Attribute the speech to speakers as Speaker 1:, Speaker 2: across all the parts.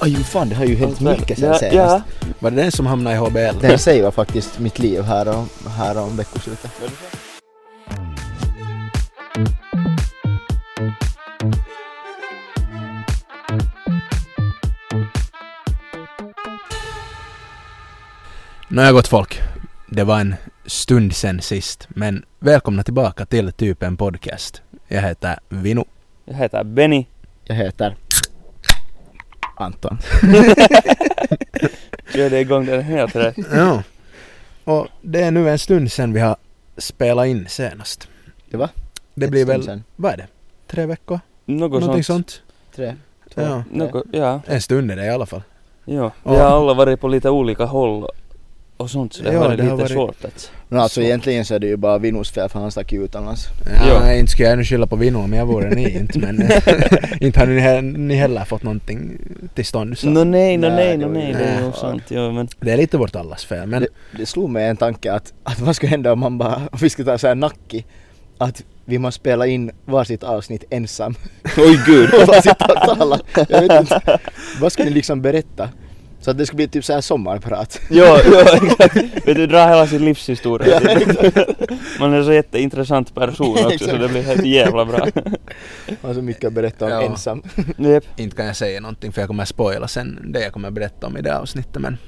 Speaker 1: Aj, fan det har ju hänt
Speaker 2: Men-
Speaker 1: mycket sen
Speaker 2: ja,
Speaker 1: senast.
Speaker 2: Ja.
Speaker 3: Var det den som hamnade i HBL?
Speaker 1: Den säger faktiskt mitt liv här om, här om veckoslutet.
Speaker 3: Nåja gott folk, det var en stund sen sist, men välkomna tillbaka till Typen Podcast. Jag heter Vino.
Speaker 2: Jag heter Benny.
Speaker 1: Jag heter Anton.
Speaker 2: Körde igång den helt rätt.
Speaker 3: Ja. Och det är nu en stund sen vi har spelat in senast.
Speaker 1: Det var?
Speaker 3: Det
Speaker 1: Ett
Speaker 3: blir
Speaker 1: stund
Speaker 3: väl,
Speaker 1: Sen.
Speaker 3: vad är det? Tre veckor?
Speaker 2: Något
Speaker 3: Någonting
Speaker 2: sånt.
Speaker 3: sånt?
Speaker 1: Tre. två.
Speaker 3: Ja.
Speaker 2: Något, ja,
Speaker 3: En stund är det i alla fall.
Speaker 2: ja. Vi
Speaker 3: Ja.
Speaker 2: har alla varit på lite olika håll och sånt så det
Speaker 3: Ja,
Speaker 2: har varit
Speaker 3: det
Speaker 2: lite
Speaker 3: har varit-
Speaker 2: svårt att...
Speaker 1: Men alltså egentligen så är det ju bara Vinos fel för han stack ju utomlands.
Speaker 3: Ja,
Speaker 2: Ja.
Speaker 3: inte skulle jag ännu skylla på Vino om jag vore ni inte men inte har ni, he- ni heller fått någonting till stånd så.
Speaker 2: Nå nej, nå
Speaker 1: Nej,
Speaker 2: nej,
Speaker 1: det
Speaker 2: nå
Speaker 1: var ju-
Speaker 2: nej, det är
Speaker 1: Nej.
Speaker 2: ju sant. Ja, men...
Speaker 3: Det är lite vårt allas fel men
Speaker 1: Det slog mig en tanke att, att vad skulle hända om man bara, om vi skulle ta så här nacki. Att vi måste spela in varsitt avsnitt ensam.
Speaker 2: Oj gud!
Speaker 1: Och bara sitta och tala. Jag vet inte. Vad skulle ni liksom berätta? Så att det skulle bli typ så här sommarprat.
Speaker 2: ja, ja, exakt. Vet du, dra hela sin livshistoria. typ. Man är så jätteintressant person också så
Speaker 1: Exakt.
Speaker 2: det blir helt jävla bra.
Speaker 1: Man har så Alltså mycket att berätta om
Speaker 3: Ja.
Speaker 1: ensam.
Speaker 2: Jep.
Speaker 3: inte kan jag säga någonting för jag kommer spoila sen det jag kommer berätta om i det avsnittet men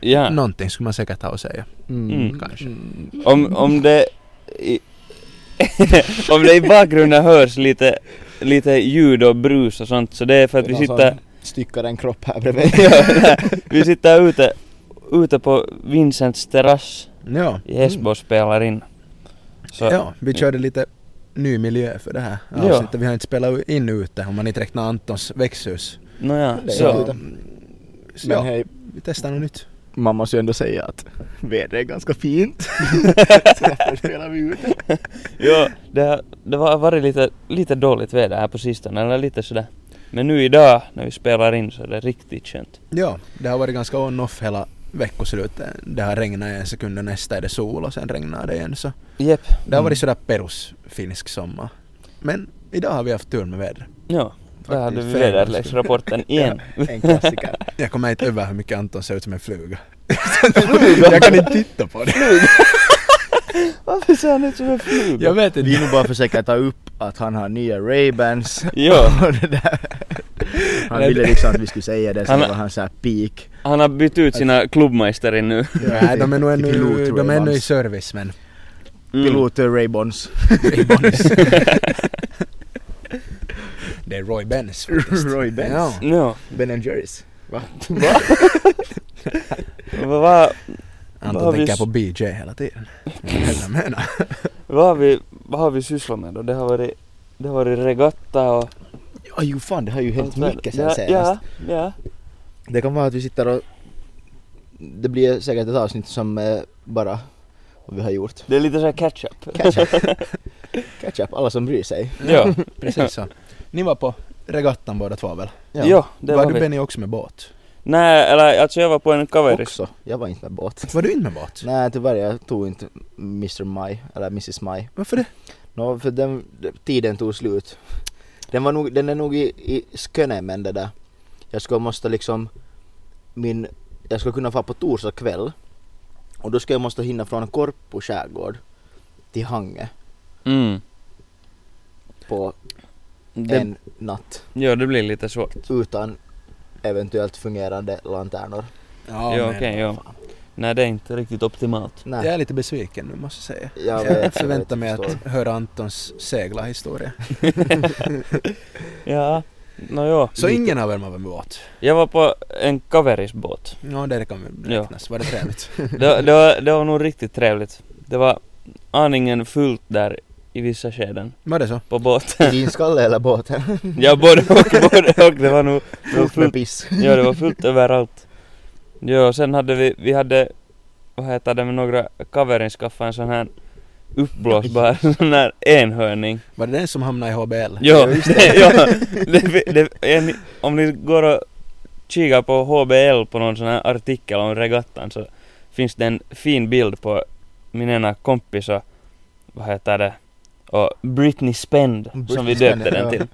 Speaker 2: Ja.
Speaker 3: någonting skulle man säkert ha att säga
Speaker 2: Mm.
Speaker 3: kanske.
Speaker 2: Om, om det... I, om det i bakgrunden hörs lite, lite ljud och brus och sånt så det är för att vi
Speaker 1: Någon som
Speaker 2: sitter,
Speaker 1: Styckar en kropp här bredvid.
Speaker 2: vi sitter ute, ute på Vincents terrass
Speaker 3: Ja.
Speaker 2: i Hesbo och spelar in. Så,
Speaker 3: ja, vi körde lite ny miljö för det här
Speaker 2: Ja.
Speaker 3: avsnittet. Vi har inte spelat in ute om man inte räknar Antons växthus.
Speaker 2: nåja,
Speaker 1: Det är
Speaker 2: så.
Speaker 1: ute.
Speaker 3: så
Speaker 1: Men
Speaker 3: ja,
Speaker 1: hej,
Speaker 3: vi testar något nytt.
Speaker 1: man måste ju ändå säga att vädret är ganska fint. Så därför spelar vi ut.
Speaker 2: Ja, det, har- det har varit lite, lite dåligt väder här på sistone, eller lite sådär. Men nu idag när vi spelar in så är det riktigt skönt.
Speaker 3: Ja, det har varit ganska on-off hela veckoslutet. Det har regnat en sekund och nästa är det sol och sen regnar det igen så
Speaker 2: Jep,
Speaker 3: det har
Speaker 1: Mm.
Speaker 3: varit sådär perus finsk sommar. Men idag har vi haft tur med vädret.
Speaker 2: ja. Där hade vi
Speaker 3: Faktiskt, för en gångs skull.
Speaker 2: väderleksrapporten igen.
Speaker 1: En klassiker.
Speaker 3: Jag kommer inte över hur mycket Anton ser ut som en fluga. jag kan inte titta på det.
Speaker 2: Varför ser han ut som en fluga?
Speaker 3: Jag vet inte.
Speaker 1: Vi nu bara försöker ta upp att han har nya Ray-Bans.
Speaker 2: Ja.
Speaker 1: Och det där. Han
Speaker 3: Nej,
Speaker 1: ville
Speaker 3: det-
Speaker 1: liksom att vi skulle säga det, så
Speaker 2: Han-
Speaker 1: det var hans så här peak.
Speaker 2: Han har bytt ut sina klubbmeister nu.
Speaker 3: Nej, de är nog ännu,
Speaker 1: Pilot
Speaker 3: de är ännu i
Speaker 1: Ray-Bans.
Speaker 3: service men
Speaker 2: Mm.
Speaker 1: Pilot eh, Ray-Bons.
Speaker 3: det är Roy Benz faktiskt.
Speaker 1: Roy
Speaker 3: Ja.
Speaker 1: Benz.
Speaker 2: No.
Speaker 1: Ben and Jerrys. Va?
Speaker 2: Vad va, Vad
Speaker 3: Anton
Speaker 2: har vi
Speaker 3: tänker
Speaker 2: s-
Speaker 3: på BJ hela tiden. Vad jag menar.
Speaker 2: vad har, vi, vad har vi sysslat med då? Det har varit, det har varit regatta och...
Speaker 1: Ja ju fan det har ju hänt mycket sen
Speaker 2: ja,
Speaker 1: senast.
Speaker 2: ja, ja.
Speaker 1: Det kan vara att vi sitter och... Det blir säkert ett avsnitt som eh, bara... Vad vi har gjort.
Speaker 2: Det är lite såhär catch-up.
Speaker 1: Catch-up. Catch-up, alla som bryr sig.
Speaker 2: ja.
Speaker 3: Precis så. Ni var på regattan båda två väl?
Speaker 2: ja.
Speaker 1: Ja,
Speaker 2: det
Speaker 3: var,
Speaker 2: var
Speaker 3: du
Speaker 2: vi.
Speaker 3: Benny också med båt?
Speaker 2: Nej, eller alltså jag var på en kaveris.
Speaker 1: också. Jag var inte med båt.
Speaker 3: Var du inte med båt?
Speaker 1: Nej tyvärr, jag tog inte Mr. Maj, eller Mrs. Maj.
Speaker 3: Varför det?
Speaker 1: Nå, för den, tiden tog slut. Den, var nog, den är nog i, i sköne men det där. Jag skulle måste liksom, min, jag skulle kunna vara på torsdag kväll. Och då skulle jag måste hinna från Korpo skärgård till Hange
Speaker 2: Mm.
Speaker 1: på
Speaker 2: Det,
Speaker 1: en natt.
Speaker 2: ja, det blir lite svårt.
Speaker 1: Utan eventuellt fungerande lanternor.
Speaker 3: Ja,
Speaker 2: Ja,
Speaker 3: men-
Speaker 2: okej, ja. Nej, det är inte riktigt optimalt.
Speaker 1: Nej.
Speaker 3: Jag är lite besviken nu måste jag säga.
Speaker 1: Jag vet,
Speaker 3: Jag
Speaker 1: jag
Speaker 3: förväntar
Speaker 1: vet,
Speaker 3: mig att
Speaker 1: förstår.
Speaker 3: höra Antons seglarhistoria.
Speaker 2: Ja. Nå, ja.
Speaker 3: Så ingen av er var med båt?
Speaker 2: Jag var på en kaverisbåt.
Speaker 3: Ja, det kan väl
Speaker 2: Ja.
Speaker 3: räknas. Var det trevligt?
Speaker 2: det, det, var, det var nog riktigt trevligt. Det var aningen fullt där i vissa skeden
Speaker 3: Var det så?
Speaker 2: på båten.
Speaker 1: I din skalle eller båten?
Speaker 2: Ja, både och, både och. Det var nog det var
Speaker 1: Fullt med
Speaker 2: fullt,
Speaker 1: piss.
Speaker 2: ja, det var fullt överallt. Ja, och sen hade vi, vi hade, vad heter det, med några kaverin skaffade en sån här uppblåsbar sån här enhörning.
Speaker 3: Var det den som hamnade i HBL?
Speaker 2: Ja, det, ja det, det, en, om ni går och kikar på HBL på någon sån här artikel om regattan så finns det en fin bild på min ena kompis och vad heter det och Britney Spend som vi
Speaker 1: Britney
Speaker 2: döpte
Speaker 1: Spend,
Speaker 2: den
Speaker 1: ja.
Speaker 2: till.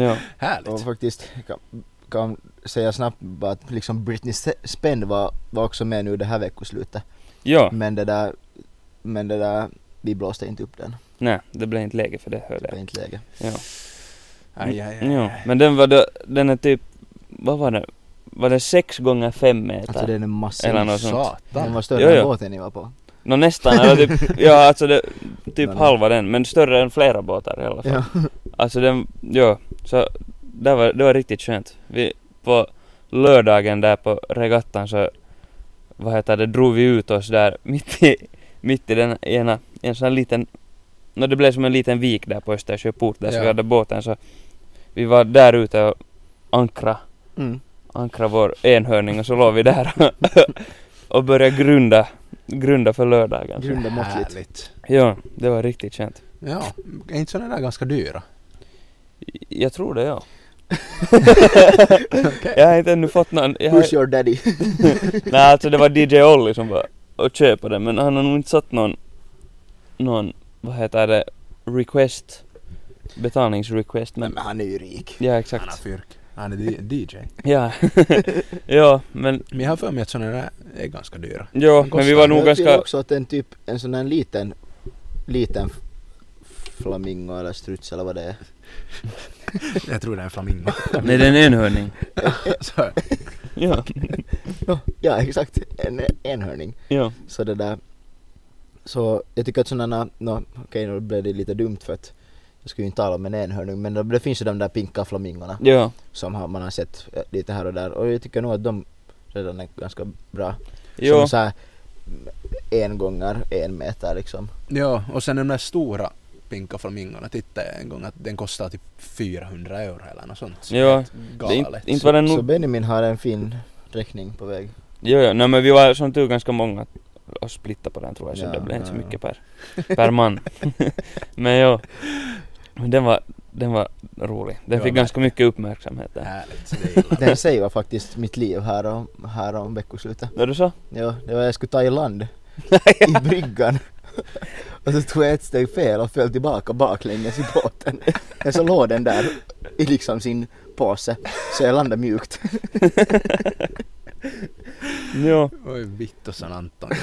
Speaker 2: Ja,
Speaker 3: Härligt.
Speaker 1: Och faktiskt, kan- kan säga snabbt bara att liksom Britney Spend var, var också med nu det här veckoslutet.
Speaker 2: Ja,
Speaker 1: Men det där, men det där, vi blåste inte upp den.
Speaker 2: nej, det blev inte läge för det hörde
Speaker 1: Det var
Speaker 2: jag.
Speaker 1: inte läge.
Speaker 2: Ja.
Speaker 3: Aj, aj, aj.
Speaker 2: Ja, men den var då, den är typ, vad var det? Var det sex gånger fem meter?
Speaker 1: Alltså den är massiv.
Speaker 2: Eller något sånt.
Speaker 1: Den
Speaker 3: Satan.
Speaker 1: var större
Speaker 2: Jo,
Speaker 1: än
Speaker 2: jo.
Speaker 1: båten ni var på.
Speaker 2: Nå nästan, eller typ, ja alltså det, typ
Speaker 1: Nej, nej.
Speaker 2: halva den, men större än flera båtar i alla fall.
Speaker 1: Ja.
Speaker 2: Alltså den, ja, så det var, det var riktigt skönt. Vi, på lördagen där på regattan så, vad heter det, drog vi ut oss där mitt i, mitt i den ena, en sån här liten, no det blev som en liten vik där på Östersjöport där så
Speaker 3: Ja.
Speaker 2: vi hade båten så vi var där ute och ankra,
Speaker 1: Mm.
Speaker 2: ankra vår enhörning och så låg vi där och började grunda, grunda för lördagen.
Speaker 1: Grunda måttligt.
Speaker 3: Härligt.
Speaker 2: Ja, det var riktigt skönt.
Speaker 3: Ja, är inte sådana där ganska dyra?
Speaker 2: Jag tror det ja.
Speaker 3: Okej.
Speaker 2: Jag har inte ännu fått någon. Jag har,
Speaker 1: Who's your daddy?
Speaker 2: nej alltså det var DJ Olli som var och köpte den men han har nog inte satt någon, någon, vad heter det, request, betalningsrequest
Speaker 1: Men
Speaker 2: men
Speaker 1: han är ju rik.
Speaker 2: ja
Speaker 3: Han har
Speaker 2: exakt.
Speaker 3: fyrk. Han är di- DJ.
Speaker 2: Ja, ja men,
Speaker 3: Men jag har för mig att sådana där är ganska dyra.
Speaker 2: ja men vi var nog
Speaker 1: jag tycker
Speaker 2: ganska,
Speaker 1: också att en typ, en sån här liten, liten f- flamingo eller struts eller vad det är.
Speaker 3: Jag tror det är en flamingo.
Speaker 2: nej det är en enhörning.
Speaker 3: Så,
Speaker 2: Ja,
Speaker 1: Ja exakt, en enhörning.
Speaker 2: ja,
Speaker 1: Så det där, så jag tycker att sådana, no, okej då blev det lite dumt för att jag skulle ju inte tala om en enhörning men då- det finns ju de där pinka flamingorna
Speaker 2: ja,
Speaker 1: som har, man har sett eh, lite här och där och jag tycker nog att de redan är ganska bra.
Speaker 2: jo,
Speaker 1: Som såhär en gånger en meter liksom.
Speaker 3: ja, och sen de där stora pinka flamingorna tittade jag en gång att den kostar typ 400 euro eller något sånt. Så
Speaker 2: Ja,
Speaker 3: helt
Speaker 2: det, är inte,
Speaker 3: galet.
Speaker 2: inte var det nog
Speaker 1: Så Benjamin har en fin räkning på väg.
Speaker 2: Jo, jo, nej men vi var som tur ganska många och splitta på den tror jag så
Speaker 1: Ja,
Speaker 2: det blev inte så
Speaker 1: ja, ja.
Speaker 2: mycket per, per man. men jo, men den var, den var rolig. Den
Speaker 3: var
Speaker 2: fick ganska mycket uppmärksamhet där.
Speaker 3: Härligt, så det gillar
Speaker 1: Den säger faktiskt mitt liv här om, här om veckoslutet.
Speaker 2: Var du så?
Speaker 1: Ja, det var jag skulle ta i land i bryggan. Och så tog jag ett steg fel och föll tillbaka baklänges i båten. Men så låg den där i liksom sin påse. Så jag landade mjukt.
Speaker 2: Jo,
Speaker 3: vi. Oj, Vittosan Anton.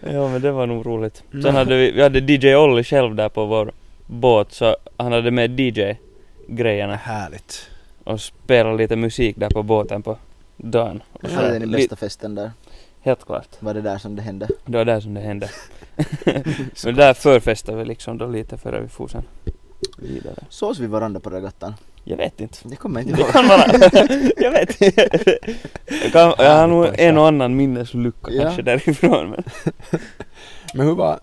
Speaker 2: ja men det var nog roligt.
Speaker 3: Mm.
Speaker 2: Sen hade vi, vi hade DJ Olli själv där på vår båt så han hade med DJ-grejerna
Speaker 3: Härligt.
Speaker 2: och spelade lite musik där på båten på dagen. Och
Speaker 1: Och
Speaker 2: så,
Speaker 1: så hade den i
Speaker 2: li-
Speaker 1: bästa festen där.
Speaker 2: helt klart.
Speaker 1: Var det där som det hände.
Speaker 2: Det var där som det hände. men där förfestade vi liksom då lite före vi for sen vidare.
Speaker 1: Sågs vi varandra på regattan?
Speaker 2: Jag vet inte.
Speaker 1: Det kommer jag inte
Speaker 2: Det
Speaker 1: ihåg.
Speaker 2: kan vara. jag vet inte. Jag, kan, jag har nog en och annan minneslucka
Speaker 1: Ja.
Speaker 2: kanske därifrån. Men.
Speaker 3: Men hur var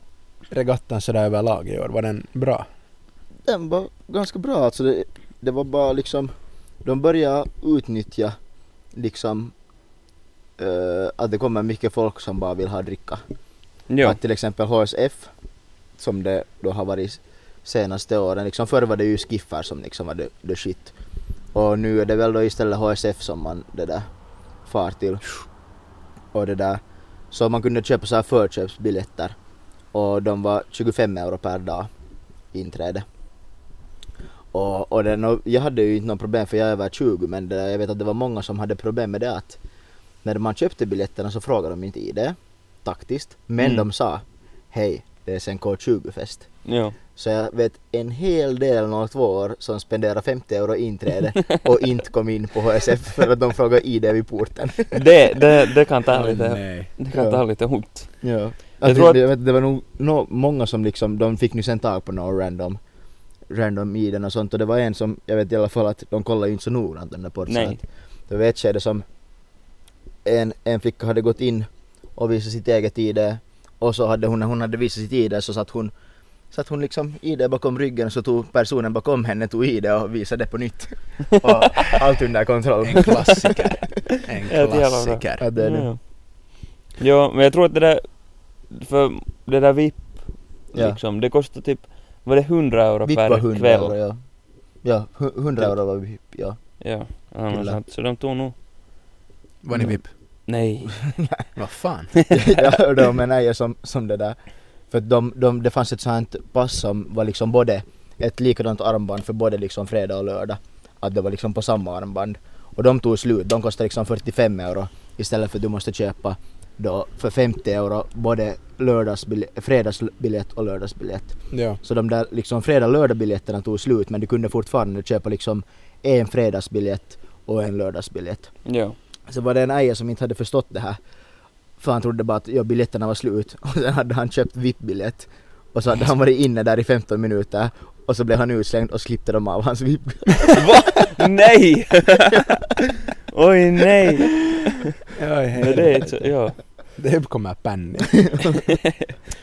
Speaker 3: regattan sådär överlag i år? Var den bra?
Speaker 1: Den var ganska bra alltså. Det, det var bara liksom. De började utnyttja liksom eh, att det kommer mycket folk som bara vill ha dricka.
Speaker 2: Jo.
Speaker 1: Att till exempel HSF, som det då har varit senaste åren, liksom förr var det ju skiffar som liksom var the, the shit. Och nu är det väl då istället HSF som man det där far till. Och det där. Så man kunde köpa så här förköpsbiljetter. Och de var 25 euro per dag inträde. Och, och den, och jag hade ju inte något problem för jag är över 20 men det, jag vet att det var många som hade problem med det att när man köpte biljetterna så frågade de inte i det taktiskt. Men
Speaker 2: Mm.
Speaker 1: de sa Hej, det är SNK20-fest.
Speaker 2: Jo.
Speaker 1: Så jag vet en hel del 02 år som spenderar 50 euro inträde och inte kom in på HSF för att de frågade ID vid porten.
Speaker 2: Det, det, det kan ta
Speaker 3: Oj,
Speaker 2: lite,
Speaker 3: Nej.
Speaker 2: det kan ta lite ont.
Speaker 1: Ja.
Speaker 2: Jag
Speaker 1: Att
Speaker 2: tror
Speaker 1: det, jag vet, det var nog nå- många som liksom, de fick nu sen tag på några random random iden och sånt och det var en som, jag vet i alla fall att de kollar ju inte så noggrant den där porten.
Speaker 2: Nej.
Speaker 1: Att Det var ett skede som en, en flicka hade gått in och visat sitt eget ID och så hade hon, när hon hade visat sitt ID så satt hon satt hon liksom ID bakom ryggen och så tog personen bakom henne tog ID och visade det på nytt. Och allt under kontroll.
Speaker 3: En klassiker. En
Speaker 2: Ja, det är jävla bra.
Speaker 3: klassiker.
Speaker 1: Ja, det är det.
Speaker 2: Jo. jo, men jag tror att det där, för det där VIP,
Speaker 1: Ja.
Speaker 2: liksom, det kostar typ, var det 100 euro
Speaker 1: VIP
Speaker 2: per
Speaker 1: var 100
Speaker 2: kväll?
Speaker 1: euro ja. Ja, hu- 100 euro var VIP ja.
Speaker 2: Ja, ja men
Speaker 1: Kyllä.
Speaker 2: sant. så de tog nog,
Speaker 3: Var ni VIP?
Speaker 2: nej,
Speaker 3: Vad fan?
Speaker 1: ja, och de menar jag som, som det där. För att de, de, det fanns ett sånt pass som var liksom både ett likadant armband för både liksom fredag och lördag. att det var liksom på samma armband. Och de tog slut, de kostade liksom 45 euro istället för att du måste köpa då för 50 euro både lördagsbilj- fredagsbiljett och lördagsbiljett.
Speaker 3: Ja.
Speaker 1: Så de där liksom fredag-lördag-biljetterna tog slut men du kunde fortfarande köpa liksom en fredagsbiljett och en lördagsbiljett.
Speaker 2: Ja.
Speaker 1: Så var det en äja som inte hade förstått det här. För han trodde bara att ja, biljetterna var slut. Och sen hade han köpt VIP-biljett. Och så hade han varit inne där i 15 minuter. Och så blev han utslängd och så klippte de av hans VIP.
Speaker 2: Va? Nej! Oj nej! Nej, det är inte så, ja.
Speaker 3: Det kommer pänning.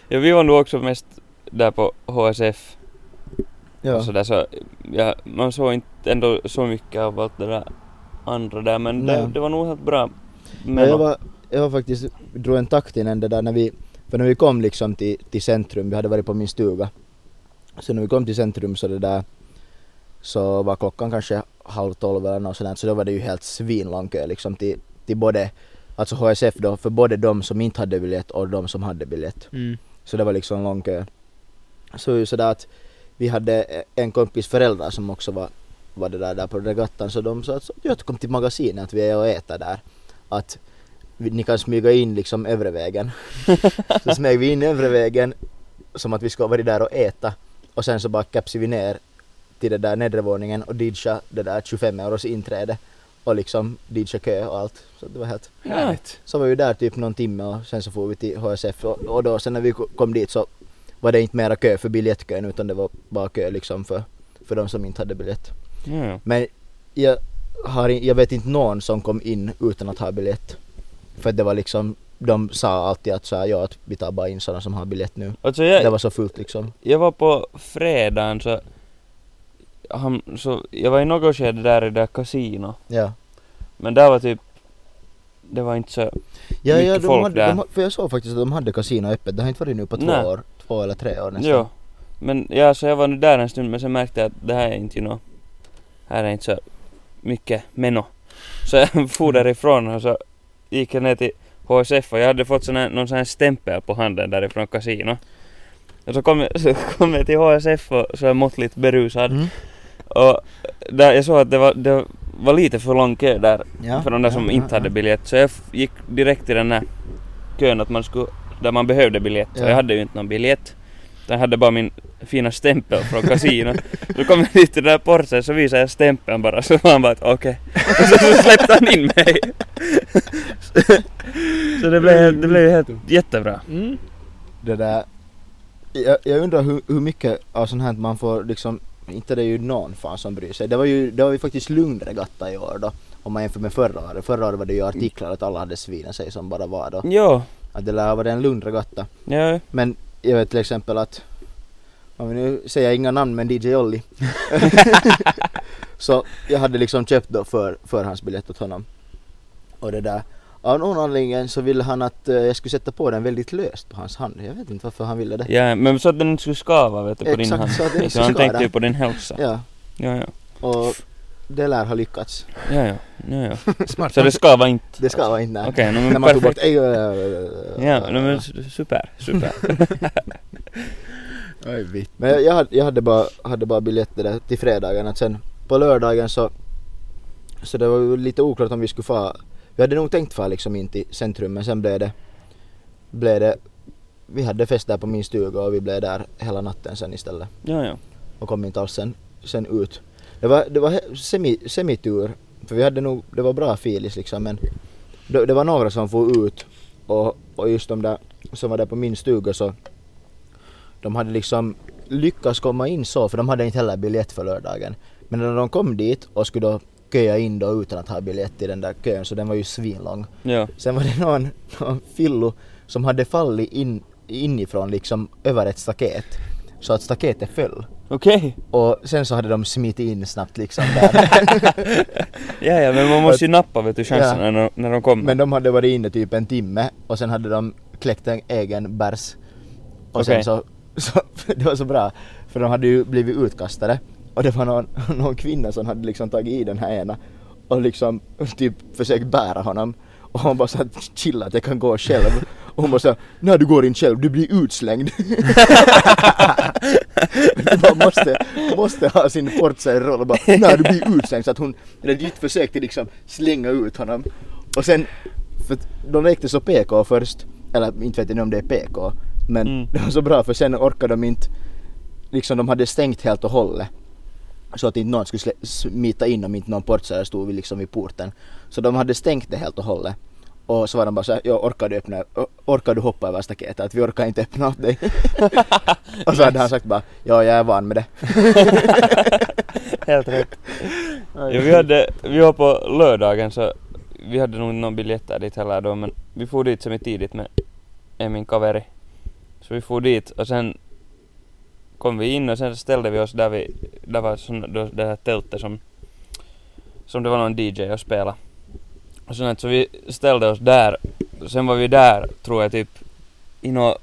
Speaker 2: ja. Vi var nog också mest där på HSF och sådär så, ja, man såg inte ändå så mycket av allt det där andra där men det,
Speaker 1: Nej.
Speaker 2: det var nog helt bra.
Speaker 1: Men jag
Speaker 2: Men
Speaker 1: var, jag var faktiskt, drog en takt innan det där när vi, för när vi kom liksom till, till centrum, vi hade varit på min stuga. Så när vi kom till centrum så det där, så var klockan kanske halv tolv eller något sånt så då var det ju helt svinlång kö liksom till, till både, alltså HSF då, för både de som inte hade biljett och de som hade biljett.
Speaker 3: Mm.
Speaker 1: Så det var liksom lång kö. Så det var ju sådär att vi hade en kompis föräldrar som också var, var det där, där på regattan så de sa att jag kom till magasinet att vi är och äter där. Att vi, ni kan smyga in liksom övre vägen. så smög vi in övre vägen som att vi ska vara där och äta och sen så bara kapsade vi ner till den där nedre våningen och ditcha det där 25 euros inträde och liksom ditcha kö och allt. Så det var helt
Speaker 3: Härligt.
Speaker 1: så var vi där typ någon timme och sen så får vi till HSF och, och då sen när vi ko- kom dit så var det inte mera kö för biljettkön utan det var bara kö liksom för, för de som inte hade biljett.
Speaker 2: ja, ja.
Speaker 1: Men jag, har, in- jag vet inte någon som kom in utan att ha biljett. För det var liksom, de sa alltid att så här, ja att vi tar bara in sådana som har biljett nu.
Speaker 2: Alltså
Speaker 1: Det
Speaker 2: jag,
Speaker 1: var så fullt liksom.
Speaker 2: jag var på fredagen så, han, så jag var i något skede där i det där kasino
Speaker 1: Ja.
Speaker 2: men där var typ, det var inte så,
Speaker 1: Ja, ja
Speaker 2: Mycket
Speaker 1: de
Speaker 2: folk
Speaker 1: hade,
Speaker 2: där.
Speaker 1: de, ha- för jag såg faktiskt att de hade kasino öppet. Det har inte varit nu på två
Speaker 2: Nej.
Speaker 1: år. Två eller tre år nästan.
Speaker 2: jo. Men ja, så jag var nu där en stund men sen märkte jag att det här är inte ju nå, här är inte så mycket meno. Så jag for därifrån och så gick jag ner till HSF och jag hade fått sån här, någon sån här stämpel på handen därifrån kasino. Och så kom, jag- så kom jag till HSF och så är jag måttligt berusad.
Speaker 1: Mm.
Speaker 2: Och där, jag såg att det var, det var lite för lång kö där
Speaker 1: Ja,
Speaker 2: för de där
Speaker 1: ja,
Speaker 2: som
Speaker 1: ja,
Speaker 2: inte
Speaker 1: ja.
Speaker 2: hade biljett. Så jag f- gick direkt till den här kön att man skulle, där man behövde biljett.
Speaker 1: Ja.
Speaker 2: Och jag hade ju inte någon biljett. Utan jag hade bara min fina stämpel från kasinot. Då kom jag dit till den där porten så visade jag stämpeln bara så var han bara att okej. Och så, så släppte han in mig. så det blev, det blev helt jättebra.
Speaker 3: Mm.
Speaker 1: det där. Jag, jag undrar hur, hur mycket av sånt här man får liksom, inte det är ju någon fan som bryr sig. Det var ju, det var ju faktiskt lugn regatta i år då. Om man jämför med förra året. Förra året var det ju artiklar att alla hade svinen sig som bara var då.
Speaker 2: Jo,
Speaker 1: Att det där var en lugn regatta.
Speaker 2: ja,
Speaker 1: Men jag vet till exempel att, om vi nu säger inga namn men DJ Olli. så jag hade liksom köpt då för, förhandsbiljett åt honom. Och det där, av någon anledning så ville han att eh, jag skulle sätta på den väldigt löst på hans hand. Jag vet inte varför han ville det.
Speaker 2: ja, men så att den inte skulle skava vet du på din
Speaker 1: Exakt,
Speaker 2: hand.
Speaker 1: så att den inte
Speaker 2: Så han
Speaker 1: skulle skada.
Speaker 2: tänkte ju på din hälsa. Ja,
Speaker 1: Ja,
Speaker 2: ja,
Speaker 1: och det lär ha lyckats.
Speaker 2: ja, ja, ja, ja.
Speaker 3: Smart.
Speaker 2: Så det skavade inte.
Speaker 1: Det ska vara inte
Speaker 2: Okej, okay,
Speaker 1: När
Speaker 2: no, men
Speaker 1: man tog bort...
Speaker 2: perfekt.
Speaker 1: Ej,
Speaker 2: Ja, no, men s- super, super.
Speaker 3: Oj, vitt.
Speaker 1: Men jag- jag, hade- jag hade bara, hade bara biljetter där till fredagen. Att sen på lördagen så, så det var ju lite oklart om vi skulle få. Vi hade nog tänkt få liksom in till centrum men sen blev det, blev det, vi hade fest där på min stuga och vi blev där hela natten sen istället.
Speaker 2: ja, ja.
Speaker 1: och kom inte alls sen, sen ut. Det var, det var he- semi, semitur, för vi hade nog, det var bra filis liksom men det, det var några som for ut och, och just de där som var där på min stuga så de hade liksom lyckats komma in så för de hade inte heller biljett för lördagen. Men när de kom dit och skulle då köa in då utan att ha biljett i den där kön så den var ju svinlång.
Speaker 2: Ja,
Speaker 1: Sen var det någon, någon fillu som hade fallit in, inifrån liksom över ett staket så att staketet föll.
Speaker 2: okej.
Speaker 1: Och sen så hade de smitit in snabbt liksom där.
Speaker 2: Ja, ja, men man måste ju nappa vet du chanserna
Speaker 1: Ja.
Speaker 2: när, de- när de kommer.
Speaker 1: Men de hade varit inne typ en timme och sen hade de kläckt en egen bärs. Och sen
Speaker 2: Okej.
Speaker 1: så, så, det var så bra. För de hade ju blivit utkastade. Och det var någon, någon kvinna som hade liksom tagit i den här ena och liksom typ försökt bära honom. Och hon bara såhär chilla att jag kan gå själv. Och hon bara såhär, nej du går inte själv, du blir utslängd. Man måste, måste ha sin portsäljroll och bara när du blir utslängd så att hon legit försökte liksom slänga ut honom. Och sen, för att de lekte så PK först, eller inte vet jag nu om det är PK, men
Speaker 2: Mm.
Speaker 1: det var så bra för sen orkade de inte, liksom de hade stängt helt och hållet. Så att inte någon skulle slä- smita in om inte någon portsäljare stod vid, liksom vid porten. Så de hade stängt det helt och hållet. Och så var de bara såhär, jag orkar du öppna, o- orkar du hoppa över staketet? Att vi orkar inte öppna åt dig. och så hade han sagt bara, ja jag är van med det.
Speaker 2: Helt rätt. Ja, vi, hade, vi var på lördagen så vi hade nog någon biljetter dit heller då men vi for dit som är tidigt med en min kaveri. Så vi for dit och sen kom vi in och sen ställde vi oss där vi, där var sån, då, det här tältet som, som det var någon DJ och spela. Och sen att så vi ställde oss där, sen var vi där tror jag typ i nå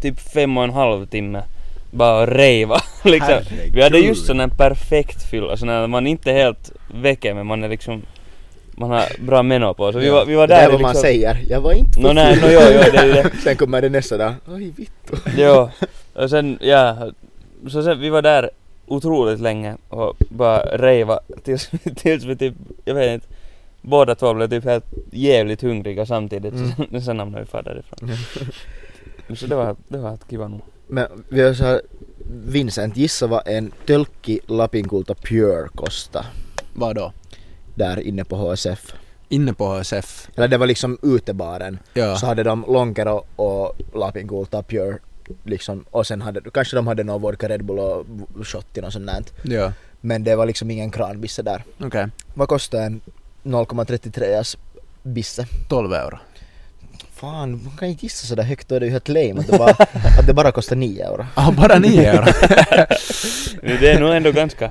Speaker 2: typ fem och en halv timme bara och rejva liksom. Vi hade just sån här perfekt fylla, sån här man är inte helt väcker men man är liksom Man har bra meno på så vi var, vi var
Speaker 1: det där
Speaker 2: där liksom-
Speaker 1: är vad man säger, jag var inte
Speaker 2: Nå
Speaker 1: full.
Speaker 2: nej, no, jo, jo, det är ju det.
Speaker 1: Sen kommer det nästa dag, oj vitt.
Speaker 2: Jo. Och sen, ja. Så sen, vi var där otroligt länge och bara rejva tills, tills vi typ, jag vet inte Båda två blev typ helt jävligt hungriga samtidigt
Speaker 1: Mm.
Speaker 2: så sen, sen hamnade vi far därifrån. Så det var, det var att kiva nog.
Speaker 1: Men vi har så här, Vincent, gissa vad en tölkki Lapinkulta Pure kostar
Speaker 3: Vadå?
Speaker 1: där inne på HSF.
Speaker 3: Inne på HSF?
Speaker 1: Eller det var liksom utebaren.
Speaker 3: Ja.
Speaker 1: Så hade de Lonkero och Lapinkulta Pure liksom och sen hade, kanske de hade någon vodka Red Bull och v- shot och sånt där.
Speaker 3: Ja.
Speaker 1: Men det var liksom ingen kranbisse där.
Speaker 3: Okej.
Speaker 1: Vad kostar en 0,33 bisse?
Speaker 3: 12 euro.
Speaker 1: Fan, man kan inte gissa sådär högt, då är det ju helt lame att det bara, att det bara kostar 9 euro.
Speaker 3: Ah, bara 9 euro?
Speaker 2: Det är nog ändå ganska,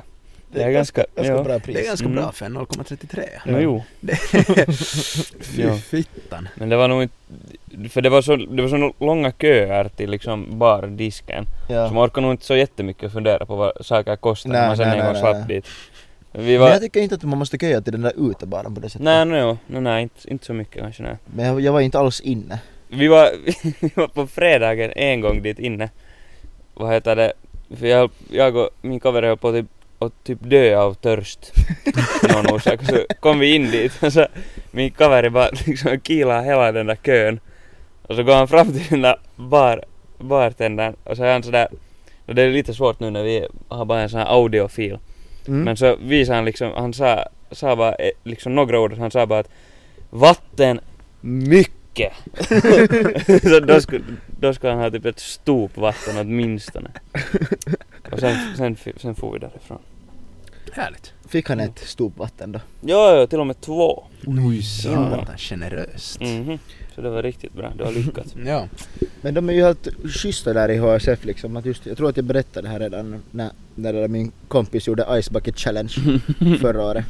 Speaker 2: det är ganska,
Speaker 1: Ganska
Speaker 2: jo.
Speaker 1: bra pris.
Speaker 3: Det är ganska
Speaker 2: Mm.
Speaker 3: bra för en 0,33.
Speaker 2: No, jo.
Speaker 3: Fy
Speaker 2: Ja.
Speaker 3: fittan.
Speaker 2: Men det var nog inte, för det var så, det var så långa köer till liksom bardisken.
Speaker 1: Ja.
Speaker 2: Så man orkar nog inte så jättemycket fundera på vad saker kostar
Speaker 1: Nej,
Speaker 2: när man sen
Speaker 1: nej,
Speaker 2: en
Speaker 1: nej, nej,
Speaker 2: gång slapp
Speaker 1: nej.
Speaker 2: dit. Vi
Speaker 1: Men
Speaker 2: var,
Speaker 1: jag tycker inte att man måste köa till den där utebaren på det sättet.
Speaker 2: nej, no, jo, no, nej, inte, inte så mycket kanske nej.
Speaker 1: Men jag, jag var inte alls inne.
Speaker 2: Vi var, vi var på fredagen en gång dit inne. Vad heter det? För jag, jag och min kaveri höll på typ, att typ dö av törst. Någon orsak. Så kom vi in dit och så min kaveri bara liksom kilade hela den där kön. Och så går han fram till den där bar, bartendern och så är han sådär. Och det är lite svårt nu när vi har bara en sån här audiofil.
Speaker 1: Mm.
Speaker 2: Men så visade han liksom, han sa, sa bara eh, liksom några ord, han sa bara att vatten mycket. så då skulle, då skulle han ha typ ett stop vatten åtminstone. Och sen, sen, fi- sen får vi därifrån.
Speaker 3: Härligt.
Speaker 1: Fick han ett stort vatten då?
Speaker 2: Jo, jo, till och med två.
Speaker 3: Oj,
Speaker 2: satan,
Speaker 3: generöst.
Speaker 2: Mhm. Så det var riktigt bra, du har lyckats.
Speaker 3: Ja.
Speaker 1: Men de är ju helt schyssta där i HSF liksom. Att just, jag tror att jag berättade det här redan när, när det där min kompis gjorde Ice Bucket Challenge förra året.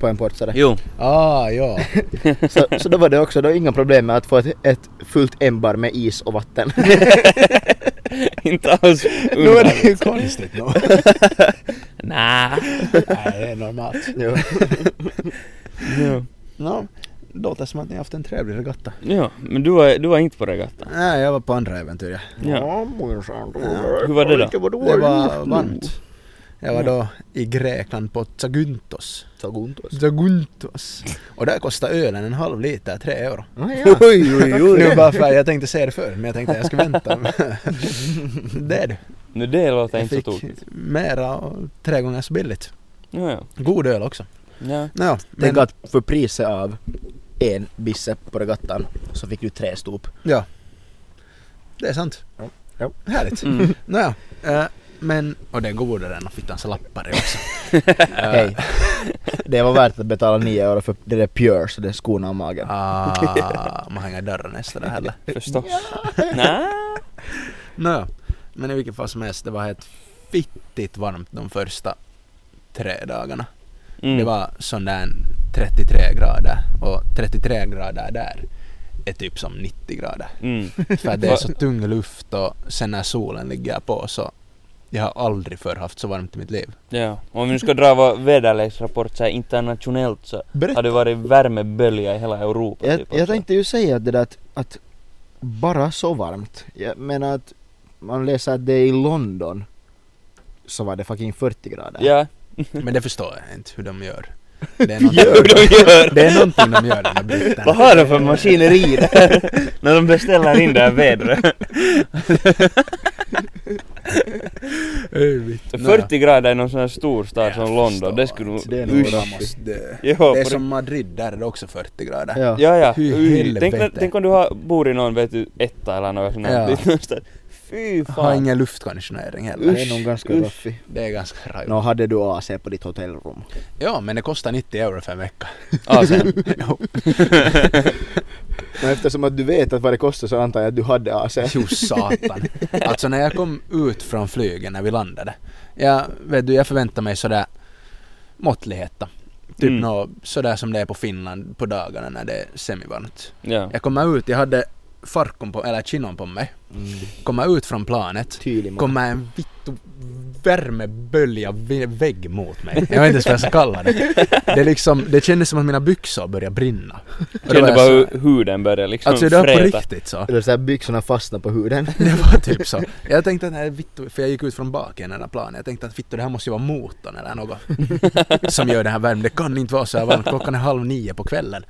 Speaker 1: På en portsare.
Speaker 2: Jo.
Speaker 3: Ah, ja.
Speaker 1: Så, så då var det också, då inga problem med att få ett, ett fullt embar med is och vatten.
Speaker 2: Inte alls
Speaker 3: Nu är
Speaker 2: undrar.
Speaker 3: det ju konstigt nog.
Speaker 2: Nä.
Speaker 3: Nej, det är normalt.
Speaker 1: Jo.
Speaker 2: Jo.
Speaker 3: Nå, låter som att ni har haft en trevlig regatta.
Speaker 2: jo, men du var, du var inte på regattan.
Speaker 3: Nej, jag var på andra äventyr. ja.
Speaker 2: Ja.
Speaker 1: minsann.
Speaker 2: Hur var det då?
Speaker 1: Vad du
Speaker 3: Det
Speaker 1: har
Speaker 3: var
Speaker 1: gjort nu.
Speaker 3: varmt. Jag var då i Grekland på Zagyntos.
Speaker 1: Så ont alltså.
Speaker 3: Zagyntos. Och där kostar ölen en halv liter, tre euro.
Speaker 1: Ah, ja.
Speaker 3: Oj, oj, oj. Nu bara för jag tänkte säga det förr, men jag tänkte jag ska vänta. det är du.
Speaker 2: Nu det låter
Speaker 3: Jag
Speaker 2: inte så
Speaker 3: fick
Speaker 2: tokigt.
Speaker 3: mera och tre gånger så billigt.
Speaker 2: Jo, jo.
Speaker 3: God öl också.
Speaker 2: Ja.
Speaker 3: Ja,
Speaker 1: Tänk
Speaker 3: men,
Speaker 1: att för priset av en bisse på regattan så fick du tre stop.
Speaker 3: ja. Det är sant.
Speaker 1: Ja. Ja.
Speaker 3: Härligt.
Speaker 2: Mm.
Speaker 3: Nåja, eh, men... Och det är godare än att fittans lappare också. Eh,
Speaker 1: Hej. Det var värt att betala 9 euro för det där Pure så det skonar magen.
Speaker 3: Ah, man hänger dörren nästa där heller.
Speaker 2: Förstås. Nä.
Speaker 3: Nåja, men i vilket fall som helst, det var helt fittigt varmt de första tre dagarna.
Speaker 2: Mm.
Speaker 3: Det var sån där 33 grader och 33 grader där är typ som 90 grader.
Speaker 2: Mm.
Speaker 3: För att det är så tung luft och sen när solen ligger på så jag har aldrig förr haft så varmt i mitt liv.
Speaker 2: Ja, om vi nu ska dra vår väderleksrapport så här internationellt så
Speaker 1: Berätta.
Speaker 2: har det varit värmebölja i hela Europa.
Speaker 1: Jag,
Speaker 2: typ,
Speaker 1: jag
Speaker 2: alltså.
Speaker 1: tänkte ju säga det där att, att bara så varmt. Jag menar att man läser att det är i London så var det fucking 40 grader.
Speaker 2: Ja,
Speaker 3: Men det förstår jag inte hur de gör. Det är,
Speaker 2: hur
Speaker 3: någonting,
Speaker 2: de gör!
Speaker 3: det är någonting de gör den här britterna.
Speaker 2: Vad har de för maskiner
Speaker 1: Maskineri där.
Speaker 2: när de beställer in det här vädret?
Speaker 3: Öj, vitt. Nåja.
Speaker 2: 40 grader i någon sån här stor stad
Speaker 3: Jag
Speaker 2: som London, det
Speaker 3: förstår
Speaker 2: skulle
Speaker 3: inte.
Speaker 1: Det är nog
Speaker 2: Usch.
Speaker 1: bra.
Speaker 3: dö.
Speaker 2: Jo,
Speaker 3: Det är
Speaker 2: på
Speaker 3: som Madrid, där är det också 40 grader.
Speaker 1: Ja.
Speaker 2: Ja, ja.
Speaker 3: Hur
Speaker 2: Uy,
Speaker 3: helvete.
Speaker 2: tänk, när- tänk om du har, bor i någon vet du, etta eller något sånt
Speaker 3: Ja.
Speaker 2: här. dit någonstans. Fy
Speaker 3: Har
Speaker 2: fan.
Speaker 3: ingen luftkonditionering heller.
Speaker 1: Det är nog ganska
Speaker 2: usch.
Speaker 1: roffig.
Speaker 3: Det är ganska rajvat.
Speaker 1: Nå hade du AC på ditt hotellrum?
Speaker 3: Ja, men det kostar 90 euro för en vecka.
Speaker 2: Ja, sen.
Speaker 3: Jo,
Speaker 1: Men eftersom att du vet att vad det kostar så antar jag att du hade AC.
Speaker 3: Jo, satan. Alltså när jag kom ut från flygen när vi landade. Jag, vet du, jag förväntade mig sådär måttlighet då. Typ
Speaker 2: Mm.
Speaker 3: nå, sådär som det är på Finland på dagarna när det är semivarmt.
Speaker 2: Ja.
Speaker 3: Jag kommer ut, jag hade farkon på, eller chinon på mig.
Speaker 1: Mm.
Speaker 3: Kommer ut från planet.
Speaker 1: Tydlig man.
Speaker 3: kommer en vittu värmebölja vä- vägg mot mig. Jag vet inte ens vad jag ska kalla det. Det, är liksom, det kändes som att mina byxor började brinna. Och då var
Speaker 2: Kände
Speaker 3: jag
Speaker 2: bara
Speaker 3: så-
Speaker 2: hur huden började liksom
Speaker 3: Alltså det var på
Speaker 2: fräta.
Speaker 3: riktigt så.
Speaker 1: Eller såhär byxorna fastnar på huden.
Speaker 3: Det var typ så. Jag tänkte att nej, vittu, för jag gick ut från baken i den här planen. Jag tänkte att vittu det här måste ju vara motorn eller något som gör den här värmen. Det kan inte vara så här varmt. Klockan är halv nio på kvällen.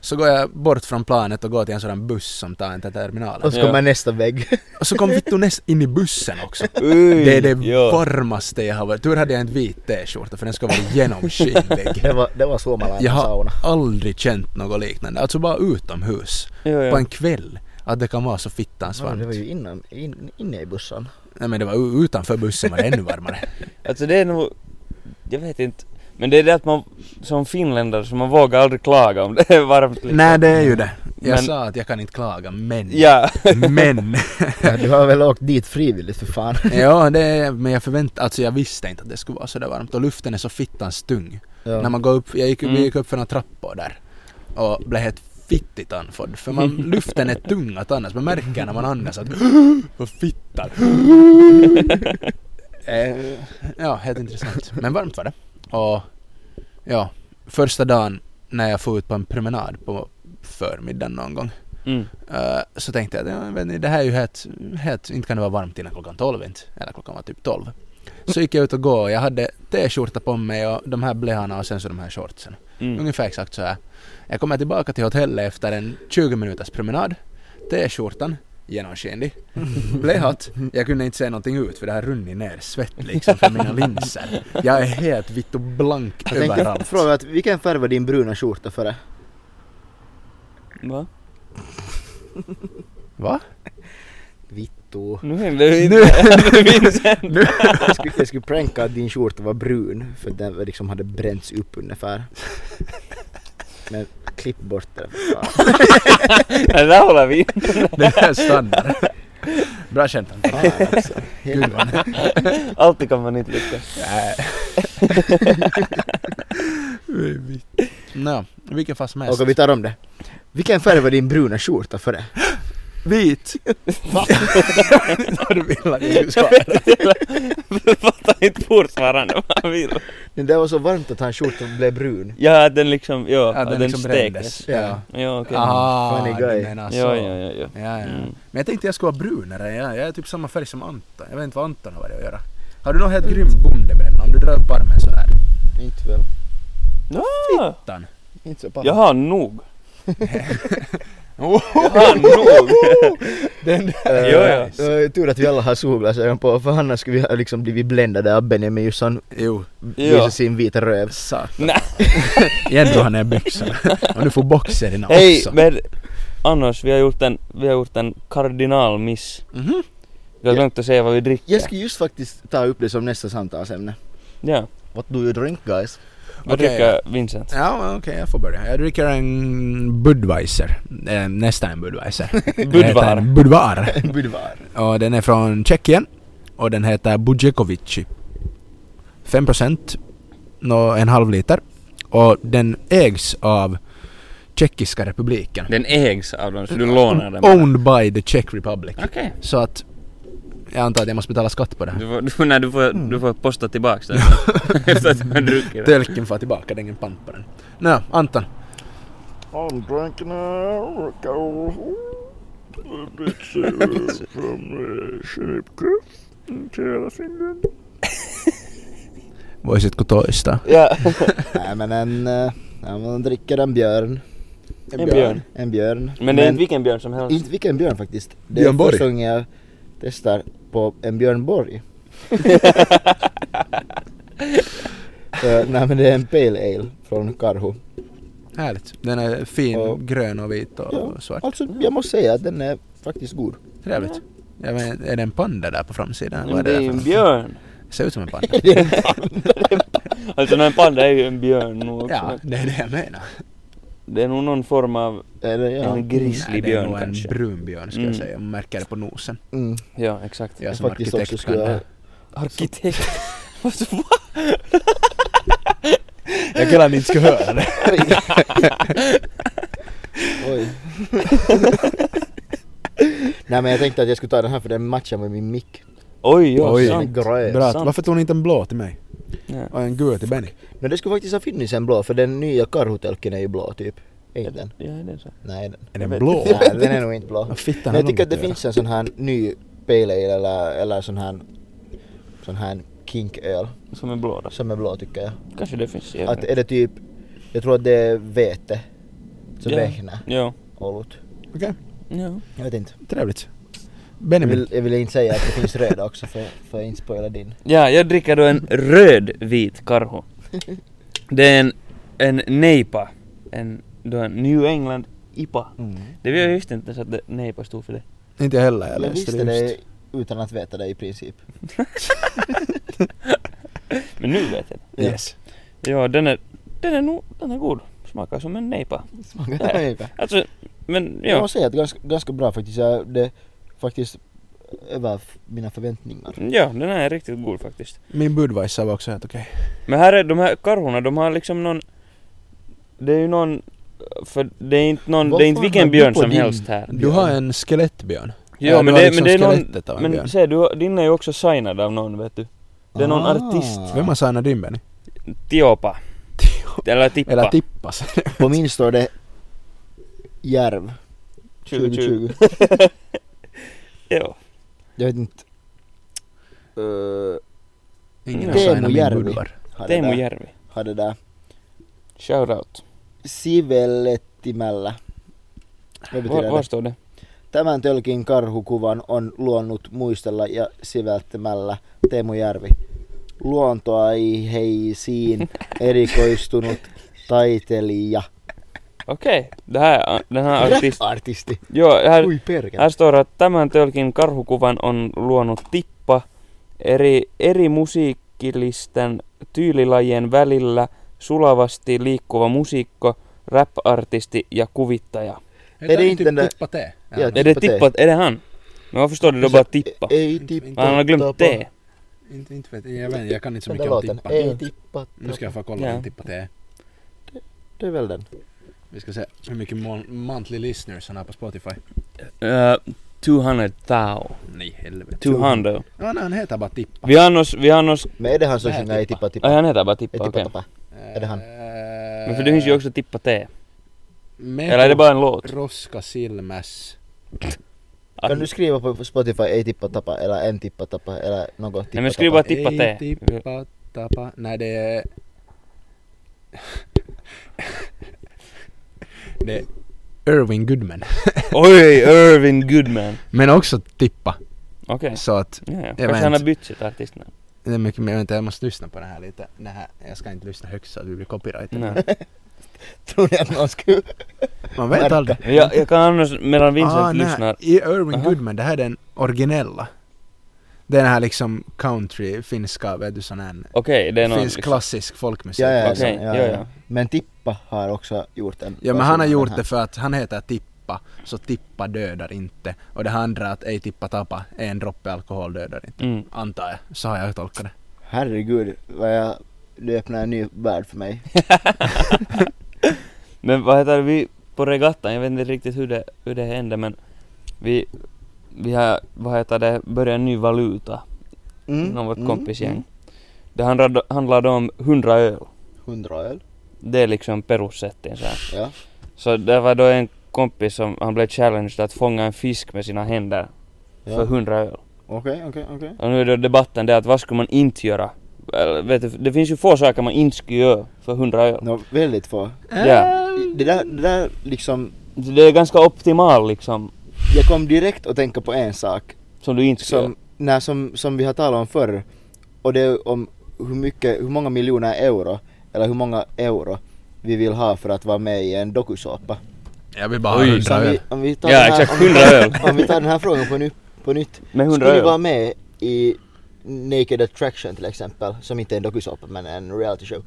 Speaker 3: Så går jag bort från planet och går till en sådan buss som tar en till terminalen.
Speaker 1: Och så
Speaker 2: Ja.
Speaker 1: kommer nästa vägg.
Speaker 3: Och så kom vittu näst in i bussen också.
Speaker 2: Uy,
Speaker 3: Det är det
Speaker 2: ja.
Speaker 3: varmaste jag har varit. Tur hade jag inte vit t-skjorta för den ska vara genomskinlig.
Speaker 1: Det var, det var Suomalainen
Speaker 3: Jag har
Speaker 1: sauna.
Speaker 3: aldrig känt något liknande. Alltså bara utomhus.
Speaker 2: Jo,
Speaker 3: På
Speaker 2: jo.
Speaker 3: en kväll. Att det kan vara så fittans
Speaker 1: Ja, det var
Speaker 3: varmt.
Speaker 1: ju innan, in, inne i bussen.
Speaker 3: Nej men det var u- utanför bussen var det ännu varmare.
Speaker 1: Liksom.
Speaker 2: Alltså det är nog, jag vet inte. Men det är det att man som finländare så man vågar aldrig klaga om det är varmt. Liksom.
Speaker 3: Nej det är ju det. Jag
Speaker 2: Men-
Speaker 3: sa att jag kan inte klaga men.
Speaker 2: Ja,
Speaker 3: Men.
Speaker 1: Ja, du har väl åkt dit frivilligt för fan.
Speaker 3: ja det är, men jag förväntade, alltså jag visste inte att det skulle vara så där varmt. Och luften är så fittans tung.
Speaker 1: Ja.
Speaker 3: När man går upp, jag gick,
Speaker 2: Mm.
Speaker 3: vi gick upp för några trappor där och blev helt fittigt andfådd. För man, luften är tung att andas. Man märker när man andas att vad fittar. Eh, ja, helt intressant. Men varmt var det. Och ja, första dagen när jag får ut på en promenad på förmiddagen någon gång
Speaker 2: mm.
Speaker 3: eh, så tänkte jag att ja, vet ni, det här är ju helt, helt, inte kan det vara varmt innan klockan 12 inte. Eller klockan var typ 12. Så gick jag ut och gå och jag hade t-skjorta på mig och de här bleharna och sen så de här shortsen.
Speaker 2: Mm.
Speaker 3: Ungefär exakt så här. Jag kommer tillbaka till hotellet efter en 20 minuters promenad. T-skjortan, genomskinlig. Blehat, jag kunde inte se någonting ut för det har runnit ner svett liksom från mina linser. Jag är helt vitt och blank
Speaker 1: Jag tänkte
Speaker 3: överallt.
Speaker 1: fråga att vilken färg var din bruna skjorta före?
Speaker 2: Va?
Speaker 3: Va?
Speaker 1: Vittu.
Speaker 2: Nu händer det
Speaker 3: Nu-
Speaker 2: inte. Nu finns det.
Speaker 1: Jag skulle, jag skulle pranka att din skjorta var brun för den liksom hade bränts upp ungefär. Men klipp bort det för fan.
Speaker 2: Det där håller vi.
Speaker 3: Det är standard. Bra skämt.
Speaker 1: Fan alltså.
Speaker 3: Gud,
Speaker 1: Helvete.
Speaker 3: vad-
Speaker 2: Alltid kan man inte lyckas.
Speaker 3: Äh. Nå, vilken fas som helst.
Speaker 1: Okej vi tar om det. Vilken färg var din bruna skjorta före?
Speaker 3: Vit! Va? Vad du vill att jag skulle svara.
Speaker 2: Jag fattar inte fortfarande vad han vill.
Speaker 1: Det var så varmt att hans skjorta blev brun.
Speaker 2: Ja, att den liksom, ja,
Speaker 3: Ja,
Speaker 2: att den,
Speaker 3: den liksom
Speaker 2: stektes.
Speaker 3: brändes. Ja.
Speaker 2: Ja, okej.
Speaker 3: Ah, Aha,
Speaker 1: Funny
Speaker 3: du
Speaker 1: guy.
Speaker 3: menar så.
Speaker 2: Ja, ja, ja, ja.
Speaker 3: Ja, ja.
Speaker 2: Mm.
Speaker 3: Men jag tänkte jag skulle vara brunare. Jag, jag är typ samma färg som Anton. Jag vet inte vad Anton har varit att göra. Har du någon helt grym bondebränna om du drar upp armen sådär?
Speaker 1: Inte väl?
Speaker 2: Ah,
Speaker 3: Utan.
Speaker 1: Inte så paha.
Speaker 2: jag har nog.
Speaker 3: Oh,
Speaker 2: Jag har nog.
Speaker 3: den där.
Speaker 1: Eh,
Speaker 2: Jo, ja.
Speaker 1: eh, Tur att vi alla har solglasögon på för annars skulle vi ha liksom blivit bländade av Benjamin Jusson
Speaker 3: Jo,
Speaker 1: visar
Speaker 2: Ja.
Speaker 1: sin vita röv.
Speaker 3: satan.
Speaker 2: Nej.
Speaker 3: Igen drar han ner byxorna. Och nu får boxerna
Speaker 2: Hej,
Speaker 3: också.
Speaker 2: men annars, vi har gjort en, vi har gjort en kardinal miss.
Speaker 3: Mhm.
Speaker 2: Vi har
Speaker 1: Ja.
Speaker 2: glömt att säga vad vi dricker.
Speaker 1: Jag skulle just faktiskt ta upp det som nästa samtalsämne.
Speaker 2: Ja,
Speaker 1: What do you drink guys?
Speaker 2: vad
Speaker 3: Okej.
Speaker 2: dricker Vincent?
Speaker 3: Ja, men okej, jag får börja. Jag dricker en Budweiser. Eh, nästan en Budweiser. Den heter
Speaker 2: Budvar.
Speaker 3: Budvar.
Speaker 1: Budvar.
Speaker 3: Och den är från Tjeckien. Och den heter Bujekovici. 5% nå en halv liter. Och den ägs av Tjeckiska republiken.
Speaker 2: Den ägs av dem, så du lånar den bara.
Speaker 3: Owned by the Czech Republic.
Speaker 2: Okej.
Speaker 3: Så att jag antar att jag måste betala skatt på det här.
Speaker 2: Du får, du, får- nej, du, får, du får posta tillbaks den efter att du har druckit den.
Speaker 3: Tölken får tillbaka, det är ingen pant på den. Nå, Anton.
Speaker 1: I'm drinking alcohol. It's from Shiripka. Till hela Finland.
Speaker 3: Voisitko toistaa?
Speaker 2: Ja,
Speaker 1: Nej men en, eh, ja, man dricker en björn.
Speaker 2: En björn.
Speaker 1: En björn.
Speaker 2: men det är inte vilken björn som helst.
Speaker 1: inte vilken björn faktiskt. Det
Speaker 3: Björn
Speaker 1: är
Speaker 3: Borg.
Speaker 1: första gången jag testar på en Björn Borg. Eh, nej men det är en Pale Ale från Karhu.
Speaker 3: Härligt. Den är fin,
Speaker 1: Och-
Speaker 3: grön och vit och
Speaker 1: Ja.
Speaker 3: svart. Mm.
Speaker 1: Alltså jag måste säga att den är faktiskt god.
Speaker 3: Trevligt. Ja, men är det en panda där på framsidan?
Speaker 2: Men
Speaker 3: Vad är
Speaker 2: det
Speaker 3: det
Speaker 2: är ju
Speaker 3: där
Speaker 2: en
Speaker 3: för-
Speaker 2: björn.
Speaker 3: Ser ut som en panda.
Speaker 2: Alltså när en panda är ju en björn nog också.
Speaker 3: ja, det är det jag menar.
Speaker 2: Det är nog någon form av
Speaker 1: Eller, ja.
Speaker 2: en grizzlybjörn
Speaker 3: Nej, det är nog
Speaker 2: kanske.
Speaker 3: en brunbjörn skulle
Speaker 2: Mm.
Speaker 3: jag säga. Man märker det på nosen.
Speaker 1: Mm.
Speaker 2: Ja, exakt.
Speaker 3: Jag
Speaker 1: Jag
Speaker 3: som
Speaker 1: faktiskt
Speaker 3: arkitekt
Speaker 1: också
Speaker 3: kan
Speaker 1: skulle-
Speaker 3: det.
Speaker 2: Arkitekt.
Speaker 3: Jag kan inte ska höra det.
Speaker 1: Oj. Nej men jag tänkte att jag skulle ta den här för den matchar med min mick.
Speaker 2: Oj, ja,
Speaker 3: Oj.
Speaker 1: Den är
Speaker 2: sant.
Speaker 1: grön.
Speaker 3: Bra.
Speaker 2: sant.
Speaker 3: Varför tog ni inte en blå till mig?
Speaker 2: Ja.
Speaker 3: Och en gul till Benny?
Speaker 1: Men det skulle faktiskt ha funnits en blå för den nya karhutelken är ju blå typ. Är inte den?
Speaker 2: Ja, det är så.
Speaker 1: Nej den.
Speaker 3: Är den
Speaker 2: vet
Speaker 3: blå?
Speaker 1: Nej, den är nog inte blå.
Speaker 3: Vad fittan
Speaker 1: Men
Speaker 3: har
Speaker 1: jag
Speaker 3: de
Speaker 1: tycker att det
Speaker 3: att göra?
Speaker 1: finns en sån här ny pale ale eller, eller sån här sån här kinköl
Speaker 2: Som en blå då.
Speaker 1: som är blå tycker jag.
Speaker 2: Kanske det finns.
Speaker 1: Att är det typ, jag tror att det är vete. Så
Speaker 2: Ja.
Speaker 1: vähne,
Speaker 2: Ja.
Speaker 1: olut.
Speaker 3: Okej,
Speaker 2: Ja.
Speaker 1: Jag vet inte.
Speaker 3: trevligt.
Speaker 1: Jag
Speaker 3: Benjamin,
Speaker 1: vill, jag vill inte säga att det finns röda också för, för att inte spoila din.
Speaker 2: ja, jag dricker då en röd-vit karhu. Det är en, en nejpa. En, då en New England IPA. Det var jag just inte ens att det- nejpa stod för det.
Speaker 3: inte jag heller. Jag
Speaker 1: Jag
Speaker 3: läste
Speaker 1: visste
Speaker 3: det
Speaker 1: det
Speaker 3: just.
Speaker 1: utan att veta det i princip.
Speaker 2: Men nu vet jag
Speaker 1: Ja.
Speaker 3: Yes.
Speaker 2: det. Ja, den är, den är nog, den är god. Smakar som en nejpa.
Speaker 1: Smakar det ungefär.
Speaker 2: Alltså, men
Speaker 1: Jag
Speaker 2: ja.
Speaker 1: måste säga att ganska, ganska bra faktiskt. Jag, det faktiskt över f- mina förväntningar.
Speaker 2: Ja, den här är riktigt god faktiskt.
Speaker 3: Min Budweiser var också helt okej.
Speaker 2: Men här är de här karhorna, de har liksom någon... Det är ju någon... För det är inte någon,
Speaker 1: Vad
Speaker 2: det är inte
Speaker 1: fan
Speaker 2: vilken
Speaker 1: har du
Speaker 2: björn
Speaker 1: på
Speaker 2: som
Speaker 1: din-
Speaker 2: helst här.
Speaker 3: Du har en skelettbjörn.
Speaker 2: Ja, men
Speaker 3: du har
Speaker 2: det, men
Speaker 3: liksom
Speaker 2: det är någon...
Speaker 3: skelettet av en björn.
Speaker 2: Men se, du, har- din är ju också signad av någon vet du. Det är någon
Speaker 1: Ah.
Speaker 2: artist.
Speaker 3: Vem har signat din Benny?
Speaker 2: Tiopa. Eller Tippa.
Speaker 3: Eller tippas.
Speaker 1: På min står det Järv 2020.
Speaker 2: Ja.
Speaker 1: Jag vet inte.
Speaker 3: Ingen har
Speaker 1: Teemu
Speaker 3: signat min
Speaker 1: Järvi.
Speaker 3: Budvar.
Speaker 1: Har det
Speaker 2: Teemu
Speaker 1: där.
Speaker 2: Järvi.
Speaker 1: Har det där.
Speaker 2: Shoutout.
Speaker 1: Sivellettimällä. Vad betyder
Speaker 2: Var, var
Speaker 1: det?
Speaker 2: står det?
Speaker 1: Tämän tölkin karhukuvan on luonut muistella ja siveltämällä Teemu Järvi. Luontoaiheisiin erikoistunut taiteilija.
Speaker 2: Okej. Det här, den här artist...
Speaker 1: Rap-artisti.
Speaker 2: Jo, här,
Speaker 1: Ui perkele.
Speaker 2: Här står att tämän tölkin karhukuvan on luonut tippa eri, eri musiikillisten tyylilajien välillä sulavasti liikkuva musiikko, rap-artisti ja kuvittaja.
Speaker 3: Är det
Speaker 1: inte
Speaker 3: inte
Speaker 1: den där-
Speaker 3: typ tippa te?
Speaker 1: Ja,
Speaker 2: Är det
Speaker 1: Tippa T.
Speaker 2: tippa? Är det han? Men varför står det då
Speaker 1: Så-
Speaker 2: bara no tippa?
Speaker 1: Ei tippa.
Speaker 2: Han har glömt
Speaker 1: tappa.
Speaker 2: T.
Speaker 3: Inte, inte vet jag. Jag, vet, jag kan inte så
Speaker 1: Den där
Speaker 3: mycket
Speaker 1: låten.
Speaker 3: om tippa.
Speaker 1: Ei tippa.
Speaker 3: Nu ska jag få kolla
Speaker 2: Ja.
Speaker 3: om tippa te.
Speaker 1: Det är väl den.
Speaker 3: Vi ska se hur mycket mon- monthly listeners han har på Spotify.
Speaker 2: Uh, 200 tau.
Speaker 3: Nej helvete.
Speaker 2: 200.
Speaker 3: Ja, nej, han heter bara tippa.
Speaker 2: Vi annos, vi annos...
Speaker 1: Men är det han som
Speaker 3: Nää
Speaker 1: sjunger Ei
Speaker 3: tippa.
Speaker 1: tippa
Speaker 2: Aj,
Speaker 1: tippa?
Speaker 2: han heter bara
Speaker 1: Ei
Speaker 2: tippa,
Speaker 1: tippa
Speaker 2: okej.
Speaker 1: tappa. Är det han?
Speaker 3: Eh,
Speaker 2: Men för det finns ju också tippa T.
Speaker 1: Eh.
Speaker 2: Eller är det
Speaker 3: Mehu-
Speaker 2: bara en låt?
Speaker 3: Roska silmäs.
Speaker 2: Ah.
Speaker 1: Kan du skriva på Spotify Ei tippa tappa eller En tippa tappa eller något tippa
Speaker 2: Nej men skriv bara
Speaker 1: tappa?
Speaker 2: tippa T.
Speaker 3: Ei tippa tappa. Nej det är... det är Irving Goodman.
Speaker 2: Oj, Irvin Goodman.
Speaker 3: Men också tippa.
Speaker 2: Okej.
Speaker 3: Så att
Speaker 2: Ja, ja.
Speaker 3: vet
Speaker 2: Kanske han har
Speaker 3: inte.
Speaker 2: bytt sitt artistnamn.
Speaker 3: det är mycket mer. Vänta jag måste lyssna på det här lite. Det här, jag ska inte lyssna högt så att vi blir copyrightade.
Speaker 2: Nej.
Speaker 1: Tror ni att någon skulle...
Speaker 3: Man vet
Speaker 1: Märka.
Speaker 3: aldrig.
Speaker 2: Jag, jag kan annars,
Speaker 1: Ah,
Speaker 2: medan Vincent
Speaker 3: Ah, nej.
Speaker 2: lyssnar.
Speaker 3: I Irving
Speaker 2: Aha.
Speaker 3: Goodman, det här är den originella. Den här liksom country, finska, vet du sån här.
Speaker 2: Okej, det är någon... liksom-
Speaker 3: Finsk klassisk folkmusik.
Speaker 1: Ja, ja,
Speaker 2: Okej,
Speaker 1: ja,
Speaker 2: ja,
Speaker 1: ja,
Speaker 2: ja.
Speaker 1: Men Tippa har också gjort en...
Speaker 3: Ja men han har
Speaker 1: version av
Speaker 3: gjort
Speaker 1: den
Speaker 3: det för att han heter Tippa, så Tippa dödar inte. Och det andra att ej tippa tappa, en droppe alkohol dödar inte.
Speaker 2: Mm.
Speaker 3: Antar jag, så har jag tolkat det.
Speaker 1: här. Herregud, vad jag... Du öppnar en ny värld för mig.
Speaker 2: Men vad heter det, vi på regattan, jag vet inte riktigt hur det, hur det hände men vi, vi har, vad heter det, börjat en ny valuta
Speaker 1: Mm,
Speaker 2: inom vårt
Speaker 1: mm,
Speaker 2: kompisgäng.
Speaker 1: mm.
Speaker 2: Det handlade, handlade om 100 öl.
Speaker 1: Hundra öl.
Speaker 2: Det är liksom perussätten så här.
Speaker 1: Ja.
Speaker 2: Så det var då en kompis som, han blev challenged att fånga en fisk med sina händer
Speaker 1: Ja.
Speaker 2: för 100 öl.
Speaker 1: Okej, okej, okej.
Speaker 2: Och nu är då debatten det att vad skulle man inte göra eller vet du, det finns ju få saker man inte skulle göra för 100 öl.
Speaker 1: Nå, väldigt få.
Speaker 2: Ja.
Speaker 1: Det där, det där liksom,
Speaker 2: Det är ganska optimal liksom,
Speaker 1: jag kom direkt att tänka på en sak
Speaker 2: som du inte skulle
Speaker 1: som,
Speaker 2: göra.
Speaker 1: när, som, som vi har talat om förr och det är om hur mycket, hur många miljoner euro eller hur många euro vi vill ha för att vara med i en dokusåpa.
Speaker 3: Jag vill bara ha
Speaker 2: Oj.
Speaker 1: Så
Speaker 3: hundra
Speaker 1: om vi,
Speaker 3: öl.
Speaker 1: om vi tar
Speaker 2: Ja,
Speaker 1: den här,
Speaker 2: exakt,
Speaker 1: om vi
Speaker 2: 100
Speaker 1: tar-
Speaker 2: öl.
Speaker 1: Om vi tar den här frågan på, ny, på nytt.
Speaker 2: Med 100
Speaker 1: Skulle du vara
Speaker 2: öl.
Speaker 1: med i Naked Attraction till exempel, som inte är en dokusåpa men en reality show,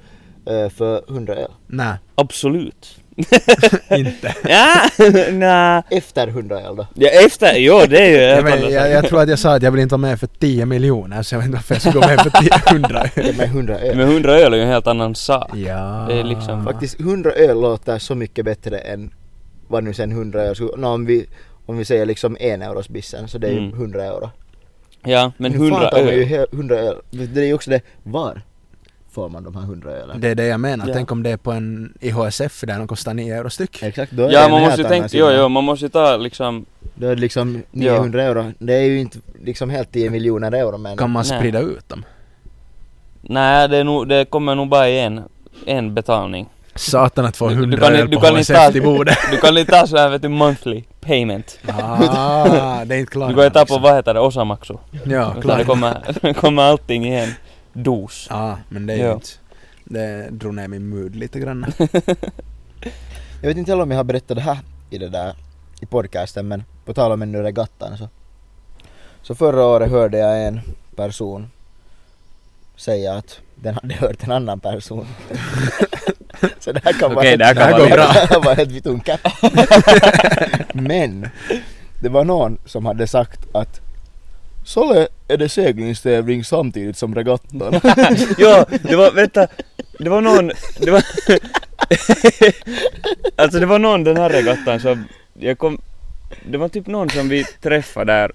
Speaker 1: eh, för 100 öl?
Speaker 3: Nej,
Speaker 2: Absolut.
Speaker 3: inte.
Speaker 2: Ja, nä.
Speaker 1: Efter 100 öl då?
Speaker 2: Ja, efter, jo det är ju
Speaker 3: Jag,
Speaker 2: helt
Speaker 3: men,
Speaker 2: andra
Speaker 3: jag,
Speaker 2: saker.
Speaker 3: jag tror att jag sa att jag vill inte vara med för 10 miljoner så jag vet inte varför jag skulle gå med för 10 100 öl.
Speaker 1: Det med 100 öl.
Speaker 2: Men 100 öl är ju en helt annan sak.
Speaker 3: Ja.
Speaker 2: Det är liksom-
Speaker 1: Faktiskt 100 öl låter så mycket bättre än vad nu sen 100 öl skulle... nå om, vi, om vi säger liksom en euros bissen så det är ju
Speaker 2: Mm.
Speaker 1: 100 euro.
Speaker 2: Ja, men
Speaker 1: Hur fan
Speaker 2: 100
Speaker 1: tar man ju
Speaker 2: öl.
Speaker 1: he- 100 öl? Det är ju också det, var får man de här 100 ölen?
Speaker 3: Det är det jag menar.
Speaker 2: Ja.
Speaker 3: Tänk om det är på en IHSF där de kostar 9 euro styck.
Speaker 1: Exakt, då är det
Speaker 2: Ja,
Speaker 1: en
Speaker 2: man
Speaker 1: helt
Speaker 2: måste ju
Speaker 1: annan
Speaker 2: tänka, jo,
Speaker 1: sida.
Speaker 2: jo, man måste ju ta liksom,
Speaker 1: Då är det liksom
Speaker 2: Ja.
Speaker 1: 900 euro. Det är ju inte liksom helt 10 miljoner euro men...
Speaker 3: Kan man
Speaker 2: Nej.
Speaker 3: sprida ut dem?
Speaker 2: nej det, är nog, det kommer nog bara i en, en betalning.
Speaker 3: Satan att få
Speaker 2: Du- du
Speaker 3: 100
Speaker 2: kan-
Speaker 3: öl
Speaker 2: du
Speaker 3: på
Speaker 2: kan inte ta-
Speaker 3: HSF till bordet.
Speaker 2: Du kan inte ta såhär vet du, monthly payment.
Speaker 3: Ah, det är inte klart.
Speaker 2: Du kan ju ta på, vad heter det, osamaksu.
Speaker 3: Ja,
Speaker 2: Utan det
Speaker 3: klart.
Speaker 2: kommer, det kommer allting i en dos.
Speaker 3: Ja, men det är ju
Speaker 2: Ja.
Speaker 3: inte... Det drog ner min mood lite grann.
Speaker 1: Jag vet inte heller om jag har berättat det här i det där i podcasten men på tal om ännu regattan så. Så förra året hörde jag en person säga att den hade hört en annan person. så det här kan vara
Speaker 2: Okej, det här kan
Speaker 3: vara bra.
Speaker 1: Det här var helt vitunka. men det var någon som hade sagt att Solle är det seglingstävling samtidigt som regattan.
Speaker 2: ja, det var, vänta, det var någon, det var... alltså det var någon den här regattan som, jag kom, det var typ någon som vi träffade där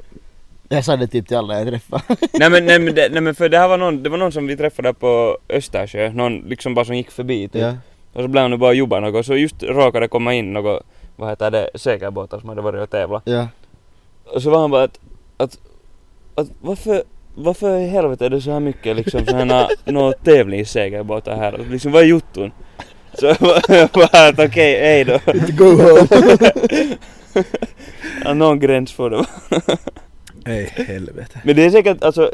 Speaker 1: jag sa det typ till alla jag träffade.
Speaker 2: nej, men, nej, men, det, nej men för det här var någon, det var någon som vi träffade där på Östersjö, någon liksom bara som gick förbi typ. Och så blev han nu bara jobba något, så just råkade komma in något, vad heter det, segelbåtar som hade varit och tävlat.
Speaker 1: ja.
Speaker 2: Och så var han bara att, att, att varför, varför i helvete är det så här mycket liksom sådana, nå tävlingssegelbåtar här? Och Liksom vad är jotton? Så jag bara- jag bara att okej, hej då.
Speaker 1: Go home.
Speaker 2: Ja, Någon gräns får det vara.
Speaker 3: Nej, helvete.
Speaker 2: Men det är säkert, alltså,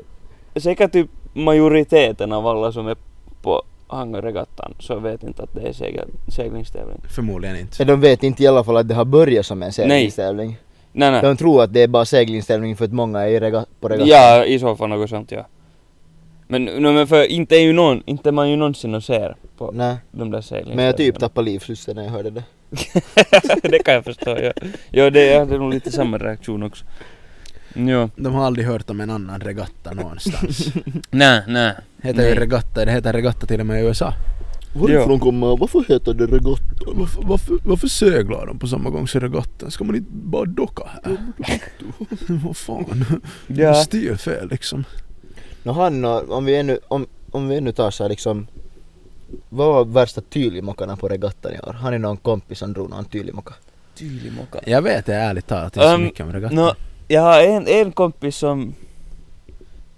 Speaker 2: säkert typ majoriteten av alla som är på Hangöregattan så vet inte att det är segel, seglingstävling.
Speaker 3: Förmodligen inte.
Speaker 1: Men de vet inte i alla fall att det har börjat som en seglingstävling.
Speaker 2: Nej, nej.
Speaker 1: De tror att det är bara seglingstävling för att många är i rega- på regattan.
Speaker 2: Ja, i så fall något sånt ja. Men, no, men för inte är ju någon, inte man ju någonsin och ser på
Speaker 1: Nej,
Speaker 2: de där seglingarna.
Speaker 1: men jag typ tappade livslusten när jag hörde det.
Speaker 2: det kan jag förstå, ja. ja det, jag hade nog lite samma reaktion också. Jo.
Speaker 3: De har aldrig hört om en annan regatta någonstans.
Speaker 2: Nej, nej.
Speaker 3: Heter
Speaker 2: Nej.
Speaker 3: ju regatta, det heter regatta till och med i USA.
Speaker 2: Varifrån
Speaker 1: kommer, varför heter det regatta?
Speaker 3: Varför, varför, varför seglar de på samma gång som regattan? Ska man inte bara docka här?
Speaker 1: Mm.
Speaker 3: Vad fan?
Speaker 2: Ja.
Speaker 3: Stilfel liksom.
Speaker 1: Nå han och, om vi ännu, om, om vi ännu tar så här liksom vad var värsta tydligmockarna på regattan i år? Har ni någon kompis som drog någon tydligmocka?
Speaker 2: Tylimokka.
Speaker 3: Jag vet det ärligt talat inte så
Speaker 2: Ehm,
Speaker 3: mycket om regatta.
Speaker 2: Nå, jag har en, en kompis som...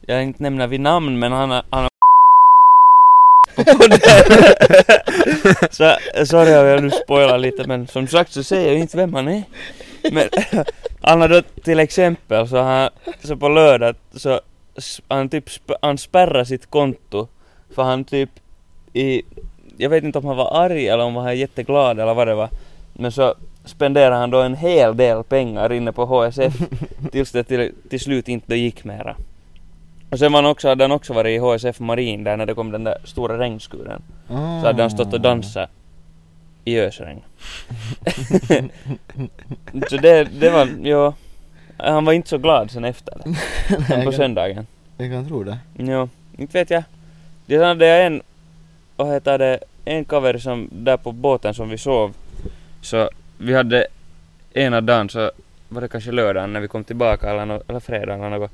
Speaker 2: Jag inte nämner vid namn men han har... Han har på podden. så, sorry om jag nu spoilar lite men som sagt så säger jag inte vem han är. Men han har då till exempel så han... Så på lördag så... s- Han typ sp- han spärrar sitt konto. För han typ i... Jag vet inte om han var arg eller om han var jätteglad eller vad det var. Men så spenderade han då en hel del pengar inne på HSF tills det till, till slut inte gick mera. Och sen var han också, hade han också varit i HSF Marin där när det kom den där stora regnskuren. Så hade han
Speaker 1: Mm.
Speaker 2: stått och dansat i ösregn. så det, det var, ja. Han var inte så glad sen efter det. Sen på
Speaker 1: jag, kan,
Speaker 2: söndagen.
Speaker 1: jag kan tro det.
Speaker 2: Jo, inte vet jag. Det hade jag en, vad heter det, en cover som där på båten som vi sov. Så vi hade ena dagen så var det kanske lördagen när vi kom tillbaka eller, no, eller fredagen eller något.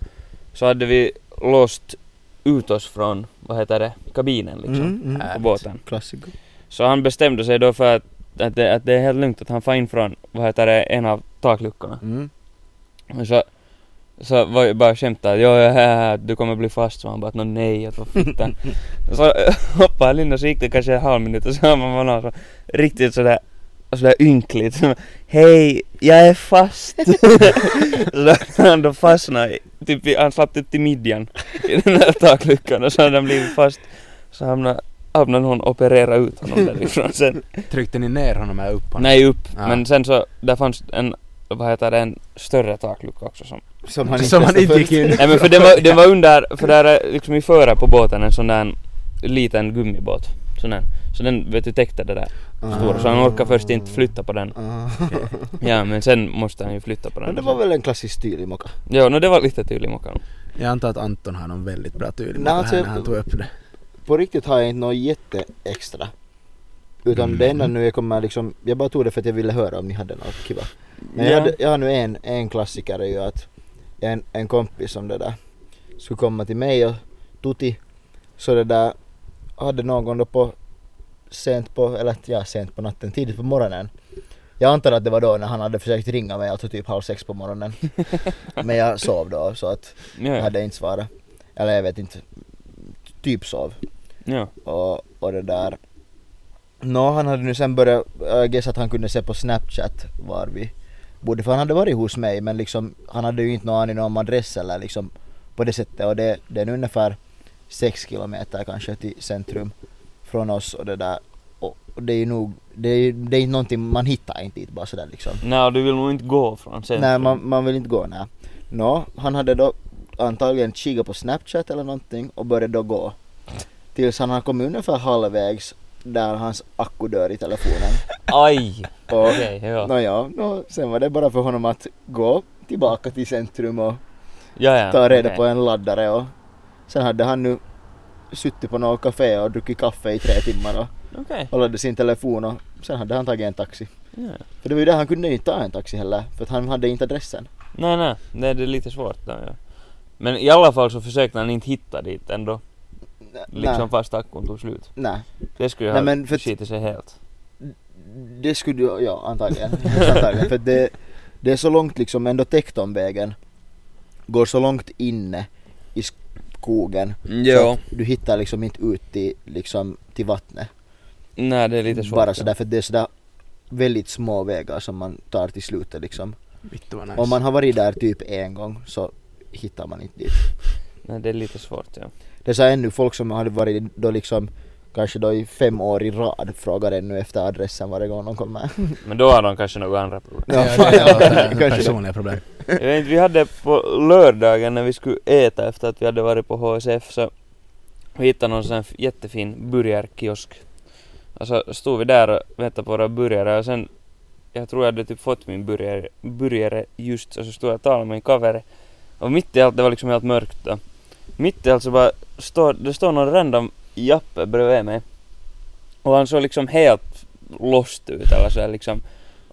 Speaker 2: Så hade vi låst ut oss från, vad heter det, kabinen liksom.
Speaker 1: Mm,
Speaker 2: På
Speaker 1: mm.
Speaker 2: båten.
Speaker 1: Klassiker.
Speaker 2: Så han bestämde sig då för att, att, det, att det är helt lugnt att han far in från, vad heter det, en av takluckorna.
Speaker 1: Mm.
Speaker 2: Och så Så var jag bara skämtade att "Ja, ja, ja, ja, du kommer bli fast så han bara att "Nå, nej att vad fittan. så hoppade han in och så gick det kanske en halv minut och så hör man honom så riktigt sådär sådär ynkligt. Så, Hej, jag är fast. så då, han då fastnade, i- typ, i- han slapp typ till midjan i den här takluckan och så hade han blivit fast. Så hamnade, hamnade hon operera ut honom därifrån sen.
Speaker 3: Tryckte ni ner honom här upp? honom?
Speaker 2: Nej upp,
Speaker 3: Ja.
Speaker 2: men sen så där fanns en, vad heter det, en större taklucka också som
Speaker 1: Som han inte,
Speaker 3: Som han
Speaker 1: ens
Speaker 3: inte gick in.
Speaker 2: Nej men för den var, den var under, för där är liksom i före på båten en sån där liten gummibåt. Sån där. Så den vet du täckte det där stora. Så han orkade först inte flytta på den.
Speaker 1: Ah.
Speaker 2: Ja men sen måste han ju flytta på den.
Speaker 1: Men det var väl en klassisk stil i Moka?
Speaker 2: Ja no, det var lite tydlig mockan.
Speaker 3: Jag antar att Anton har någon väldigt bra tydlig
Speaker 1: Nej,
Speaker 3: mot det
Speaker 1: alltså-
Speaker 3: här när han tog upp det.
Speaker 1: På riktigt har jag inte något jätteextra. Utan
Speaker 3: Mm.
Speaker 1: det enda nu jag kommer liksom, jag bara tog det för att jag ville höra om ni hade något kiva. Men
Speaker 2: Ja.
Speaker 1: jag, hade, jag har nu en, en klassiker är ju att en, en kompis som det där skulle komma till mig och Tuti så det där hade någon då på sent på, eller ja sent på natten, tidigt på morgonen. Jag antar att det var då när han hade försökt ringa mig, alltså typ halv sex på morgonen. Men jag sov då så att jag
Speaker 2: Ja,
Speaker 1: hade inte svarat. Eller jag vet inte, typ sov.
Speaker 2: ja.
Speaker 1: och, och det där. Nå, han hade nu sen börjat, jag gissar att han kunde se på Snapchat var vi bodde, för han hade varit hos mig men liksom han hade ju inte någon aning om adress eller liksom på det sättet och det, det är nu ungefär 6 kilometer kanske till centrum från oss och det där och och det är ju nog, det är, det är inte någonting, man hittar inte dit bara sådär liksom.
Speaker 2: Nej du vill nog inte gå från sen.
Speaker 1: Nej, man, man vill inte gå nej. Nå, han hade då antagligen kikat på Snapchat eller någonting och började då gå. Tills han har kommit ungefär halvvägs där hans akku dör i telefonen.
Speaker 2: Aj!
Speaker 1: Och
Speaker 2: Okej, ja.
Speaker 1: nåja, nå, sen var det bara för honom att gå tillbaka till centrum och
Speaker 2: Ja, ja.
Speaker 1: ta reda
Speaker 2: okej.
Speaker 1: på en laddare och sen hade han nu suttit på något café och druckit kaffe i tre timmar och,
Speaker 2: Okej.
Speaker 1: och laddat sin telefon och sen hade han tagit en taxi.
Speaker 2: Ja.
Speaker 1: För det var ju där han kunde ju inte ta en taxi heller för att han hade inte adressen.
Speaker 2: Nej, nej. Det det är lite svårt där ja. Men i alla fall så försökte han inte hitta dit ändå. Liksom
Speaker 1: Nej,
Speaker 2: fast tackon tog slut.
Speaker 1: nej.
Speaker 2: Det skulle
Speaker 1: Nej,
Speaker 2: ju
Speaker 1: men
Speaker 2: ha
Speaker 1: för-
Speaker 2: skitit sig helt.
Speaker 1: Det skulle du, ja antagligen. antagligen för det, det är så långt liksom, ändå täckt om vägen. Går så långt inne i skogen.
Speaker 2: Mm,
Speaker 1: Så att du hittar liksom inte ut till, liksom, till vattnet.
Speaker 2: Nej det är lite svårt.
Speaker 1: Bara
Speaker 2: ja.
Speaker 1: sådär för det är sådär väldigt små vägar som man tar till slutet liksom.
Speaker 3: Vittu vad
Speaker 1: Om
Speaker 3: nice.
Speaker 1: man har varit där typ en gång så hittar man inte dit.
Speaker 2: Nej det är lite svårt ja.
Speaker 1: Det är så här ännu folk som hade varit då liksom kanske då i fem år i rad frågar ännu efter adressen varje gång de kommer.
Speaker 2: Men då har de kanske några andra problem.
Speaker 3: Ja, det är
Speaker 1: kanske det.
Speaker 3: personliga problem.
Speaker 2: Jag vet inte, vi hade på lördagen när vi skulle äta efter att vi hade varit på HSF så vi hittade någon sån här jättefin burgarkiosk. Och så stod vi där och väntade på våra burgare och sen jag tror jag hade typ fått min burgare, burgare just och så stod jag och talade med min kaveri. Och mitt i allt, det var liksom helt mörkt då. Mitt i allt så bara står, det står någon random jappe bredvid mig. Och han såg liksom helt lost ut eller så här liksom.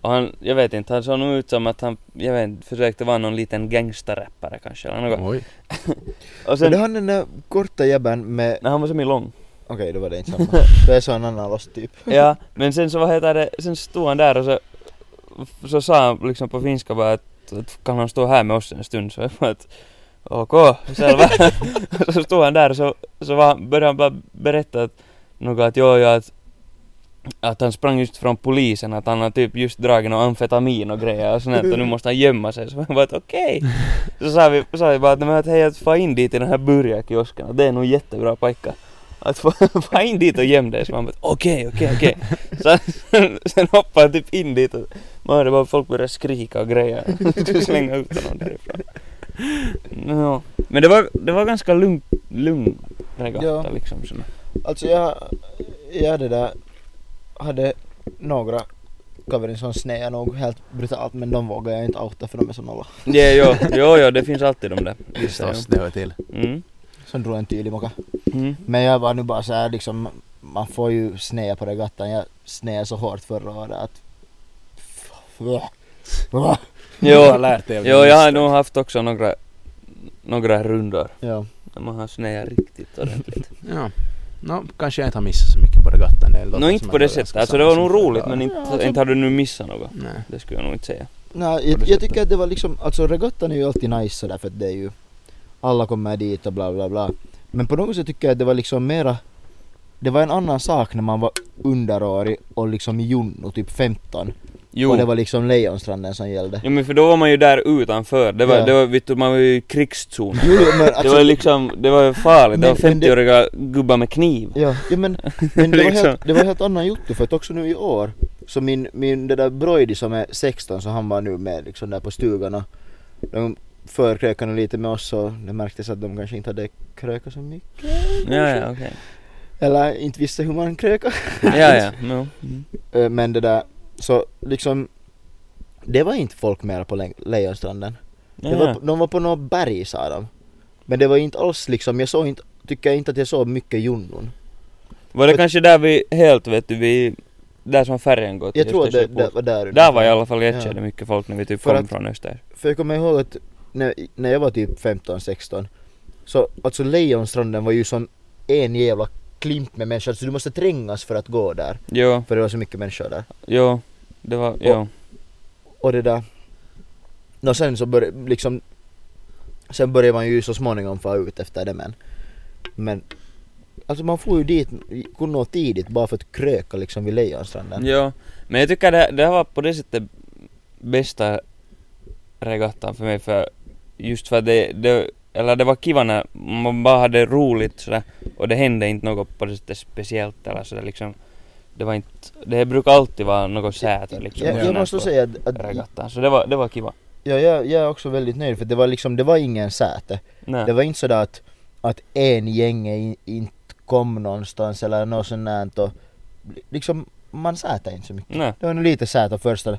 Speaker 2: Och han, jag vet inte, han såg nog ut som att han, jag vet inte, försökte vara någon liten gangsterrappare kanske eller något.
Speaker 3: Oj.
Speaker 2: Och
Speaker 1: Sen... Det
Speaker 2: sen,
Speaker 1: har den där korta jäbben med
Speaker 2: nej han var som i lång.
Speaker 1: Okej, då var det inte samma. Det är så en annan lost typ.
Speaker 2: Ja, men sen så vad heter det, sen stod han där och så, så sa han liksom på finska bara att, att kan han stå här med oss en stund så jag bara att okej, selvä. så stod han där och så, så var, han- började han bara berätta att, något att jo, ja, att, att han sprang just från polisen, att han har typ just dragit någon amfetamin och grejer och sånt där, och nu måste han gömma sig. Så jag bara att okej. Så sa vi, sa vi bara att, men, att hej, att få in dit i den här burgarkiosken, att det är nog en jättebra pojka. Att få, få in dit och göm dig. Så man bara okej, okej, okej. Så Sen, sen hoppade han typ in dit och man hörde bara folk börja skrika och grejer. Du slänga ut honom därifrån. No. Men det var, det var ganska lugn, lugn regatta
Speaker 1: Ja.
Speaker 2: liksom. Såna.
Speaker 1: Alltså jag, jag hade där, hade några kaverin som sneade nog helt brutalt men de vågar jag inte outa för de är så nolla.
Speaker 2: Ja, jo, jo, jo, det finns alltid de där. Vissa,
Speaker 3: Förstås, det hör till.
Speaker 2: jo. Mm.
Speaker 1: Som drog en tydlig mocka.
Speaker 2: Mm.
Speaker 1: Men jag var nu bara så här liksom, man får ju snea på regattan. Jag sneade så hårt förra året att...
Speaker 3: Du har
Speaker 2: Jo,
Speaker 3: lärt dig av
Speaker 2: jo,
Speaker 3: din
Speaker 2: jag har
Speaker 3: misstag.
Speaker 2: nog haft också några, några rundor.
Speaker 1: Ja.
Speaker 2: När man har snöat riktigt ordentligt.
Speaker 3: Ja. Nå, kanske jag inte har missat så mycket på regattan.
Speaker 2: Nå inte på det sättet. Alltså det var nog roligt men
Speaker 1: Ja,
Speaker 2: inte,
Speaker 1: alltså-
Speaker 2: inte har du nu missat något.
Speaker 3: Nej.
Speaker 2: Det skulle jag nog inte säga.
Speaker 1: Nej,
Speaker 2: På
Speaker 1: jag,
Speaker 2: det
Speaker 1: jag
Speaker 2: sättet.
Speaker 1: tycker att det var liksom, alltså regattan är ju alltid nice sådär för att det är ju, alla kommer dit och bla bla bla. Men på något sätt tycker jag att det var liksom mera, det var en annan sak när man var underårig och liksom i junno, typ 15.
Speaker 2: Jo.
Speaker 1: Och det var liksom Lejonstranden som gällde.
Speaker 2: Ja men för då var man ju där utanför, det var,
Speaker 1: Ja.
Speaker 2: det var, vet du, man var ju i krigszonen.
Speaker 1: Jo, jo, men
Speaker 2: Det
Speaker 1: alltså,
Speaker 2: var ju liksom, det var ju farligt, det var
Speaker 1: Men- men det-
Speaker 2: 50-åriga gubbar med kniv.
Speaker 1: Ja, ja men, men det, var
Speaker 2: Liksom.
Speaker 1: helt, det var helt annan jotto för att också nu i år så min, min det där Broidi som är 16 så han var nu med liksom där på stugan och de förkrökade lite med oss och det märktes att de kanske inte hade krökat så mycket
Speaker 2: Ja, ja, okej.
Speaker 1: eller inte visste hur man krökar
Speaker 2: Ja, ja, no. mm.
Speaker 1: Eh, men det där så liksom det var inte folk mera på Le- Lejonstranden
Speaker 2: ja,
Speaker 1: det var,
Speaker 2: ja.
Speaker 1: på- de var på något berg sa de men det var inte alls liksom jag såg inte tycker jag inte att jag såg mycket junnon
Speaker 2: Var det kanske där vi helt, vet du, vi, där som färjan går till
Speaker 1: jag tror att det,
Speaker 2: Östersjöport?
Speaker 1: det var där
Speaker 2: Där var i alla fall i
Speaker 1: Ja.
Speaker 2: ett skede mycket folk när vi typ
Speaker 1: För
Speaker 2: kom
Speaker 1: att-
Speaker 2: från Öster.
Speaker 1: För jag kommer ihåg att när, när jag var typ 15-16 så alltså Lejonstranden var ju som en jävla klump med människor så du måste trängas för att gå där
Speaker 2: Jo,
Speaker 1: för det var så mycket människor där.
Speaker 2: jo, det var, jo.
Speaker 1: Och det där och sen så började liksom sen började man ju så småningom få ut efter det men men alltså man får ju dit kunde nå tidigt bara för att kröka liksom vid Lejonstranden.
Speaker 2: Jo. Men jag tycker det, det här var på det sättet bästa regattan för mig för just för att det, det eller det var kiva när man bara hade roligt sådär och det hände inte något på det sättet speciellt eller sådär liksom. Det var inte, det brukar alltid vara något säte liksom.
Speaker 1: jag, jag
Speaker 2: sådär
Speaker 1: måste
Speaker 2: på
Speaker 1: säga att, att
Speaker 2: Regattan, så det var, det var kiva.
Speaker 1: ja, jag, jag är också väldigt nöjd för det var liksom det var ingen säte
Speaker 2: Nej.
Speaker 1: Det var inte sådär att, att en gäng in- inte kom någonstans eller något sånt där. och Liksom, man säter inte så mycket.
Speaker 2: Nej.
Speaker 1: Det var nog lite säter första,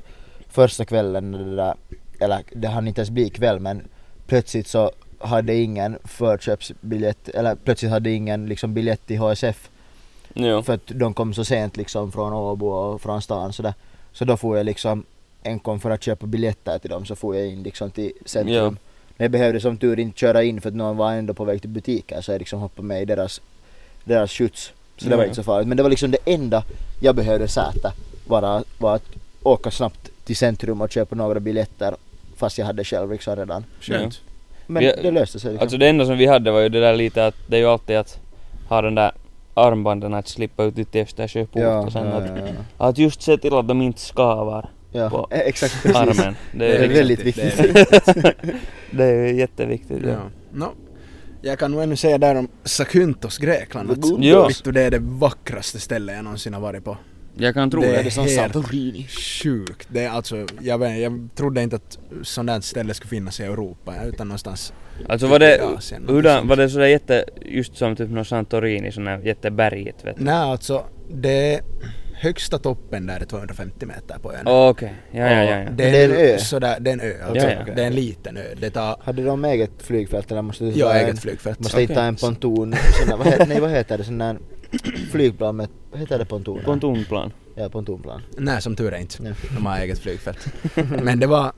Speaker 1: första kvällen, när det där, eller det hann inte ens bli kväll men plötsligt så hade ingen förköpsbiljett, eller plötsligt hade ingen liksom biljett till HSF
Speaker 2: Jo.
Speaker 1: för att de kom så sent liksom från Åbo och från stan sådär. Så då får jag liksom enkom för att köpa biljetter till dem så får jag in liksom till centrum.
Speaker 2: Ja.
Speaker 1: Men jag behövde som tur inte köra in för att någon var ändå på väg till butiken så jag liksom hoppade med i deras, deras skjuts. Så det var
Speaker 2: Ja.
Speaker 1: inte så farligt. Men det var liksom det enda jag behövde sätta var, var att åka snabbt till centrum och köpa några biljetter fast jag hade själv liksom redan.
Speaker 3: Skönt.
Speaker 1: Men
Speaker 2: Ja.
Speaker 1: det löste sig liksom.
Speaker 2: Alltså det enda som vi hade var ju det där lite att det är ju alltid att ha den där armbanden att slippa ut ditt Östersjöport och sen att,
Speaker 1: ja, ja.
Speaker 2: att just se till att de inte skavar
Speaker 1: ja.
Speaker 2: på
Speaker 1: eh, exakt precis.
Speaker 2: armen. Det är,
Speaker 1: Det är
Speaker 2: liksom,
Speaker 1: väldigt viktigt.
Speaker 3: Det är-
Speaker 2: det är ju jätteviktigt. Ja.
Speaker 3: ja. Nå, jag kan nog ännu säga där om Sakuntos Grekland att
Speaker 2: Ja.
Speaker 3: vet du, det är det vackraste stället jag någonsin har varit på.
Speaker 2: Jag kan tro
Speaker 3: Det
Speaker 2: det.
Speaker 1: är det som
Speaker 3: helt-
Speaker 1: Santorini.
Speaker 3: Sjukt. Det är alltså, jag, vet, jag trodde inte att sånt där ställe skulle finnas i Europa utan någonstans
Speaker 2: Alltså var det,
Speaker 3: i Asien.
Speaker 2: hurdan, var det sådär jätte, just som typ någon Santorini, sån där jätteberget vet du?
Speaker 3: Nej alltså, det högsta toppen där är 250 meter på ön.
Speaker 2: Åh, Okej, ja ja ja. ja.
Speaker 3: Det är,
Speaker 1: Det är en ö.
Speaker 3: Sådär, det är en ö alltså.
Speaker 2: Ja, ja.
Speaker 3: Det är en liten ö. Det tar...
Speaker 1: Hade de eget flygfält eller måste du
Speaker 3: Jag har
Speaker 1: ta en-
Speaker 3: eget flygfält.
Speaker 1: Måste
Speaker 2: Okej.
Speaker 1: hitta en ponton, sån där, vad heter, nej vad heter det, sån där flygplan med, heter det ponton?
Speaker 2: Pontonplan.
Speaker 1: Ja, pontonplan.
Speaker 3: Nej, som tur är inte.
Speaker 1: Ja.
Speaker 3: De har eget flygfält. Men det var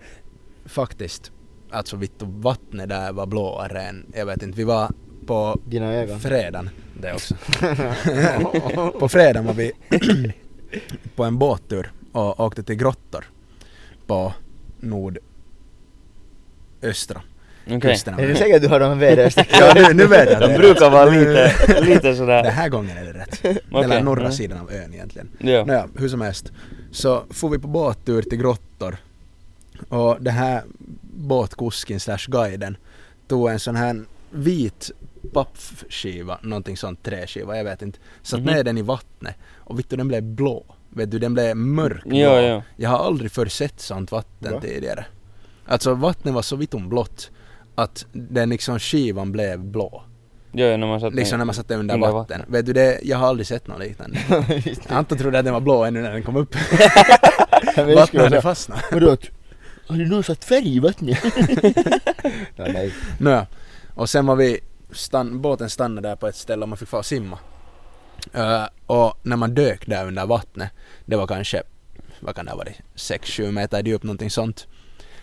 Speaker 3: faktiskt, alltså vittu vattnet där var blåare än, jag vet inte, vi var på
Speaker 1: Dina ögon.
Speaker 3: fredagen, det också. på fredagen var vi på en båttur och åkte till grottor på nordöstra
Speaker 2: Okej.
Speaker 3: kusten. av
Speaker 1: Är du
Speaker 3: Finland.
Speaker 1: säker att du har dem väderstreck?
Speaker 3: Ja, nu, nu vet jag
Speaker 2: De
Speaker 3: det.
Speaker 2: brukar vara lite, lite
Speaker 3: Den
Speaker 2: sådär.
Speaker 3: här gången är det rätt.
Speaker 2: Okej,
Speaker 3: Eller norra
Speaker 2: mm.
Speaker 3: sidan av ön egentligen.
Speaker 2: Ja.
Speaker 3: Nåja, hur som helst. Så får vi på båttur till grottor. Och den här båtkusken slash guiden tog en sån här vit pappskiva, någonting sånt, träskiva, jag vet inte. Satt
Speaker 2: Mhm.
Speaker 3: ner den i vattnet och vet du, den blev blå. Vet du, den blev mörkblå.
Speaker 2: Jo, jo.
Speaker 3: Jag har aldrig förr sett sånt vatten
Speaker 1: Va?
Speaker 3: tidigare. Alltså vattnet var så vittum blått att den liksom skivan blev blå.
Speaker 2: Jo, jo, när man satt
Speaker 3: Liksom
Speaker 2: med-
Speaker 3: när man satte under
Speaker 2: under
Speaker 3: vatten. Vet du det, jag har aldrig sett något liknande. Anton trodde att den var blå ännu när den kom upp. Vattnet hade fastnat.
Speaker 1: Vadå? att- Har du någon satt färg i vattnet? ja, nej.
Speaker 3: Nåja. Och sen var vi, stann, båten stannade där på ett ställe och man fick fara och simma. Eh, och när man dök där under vattnet, det var kanske, vad kan det ha varit, 6-7 meter djupt någonting sånt.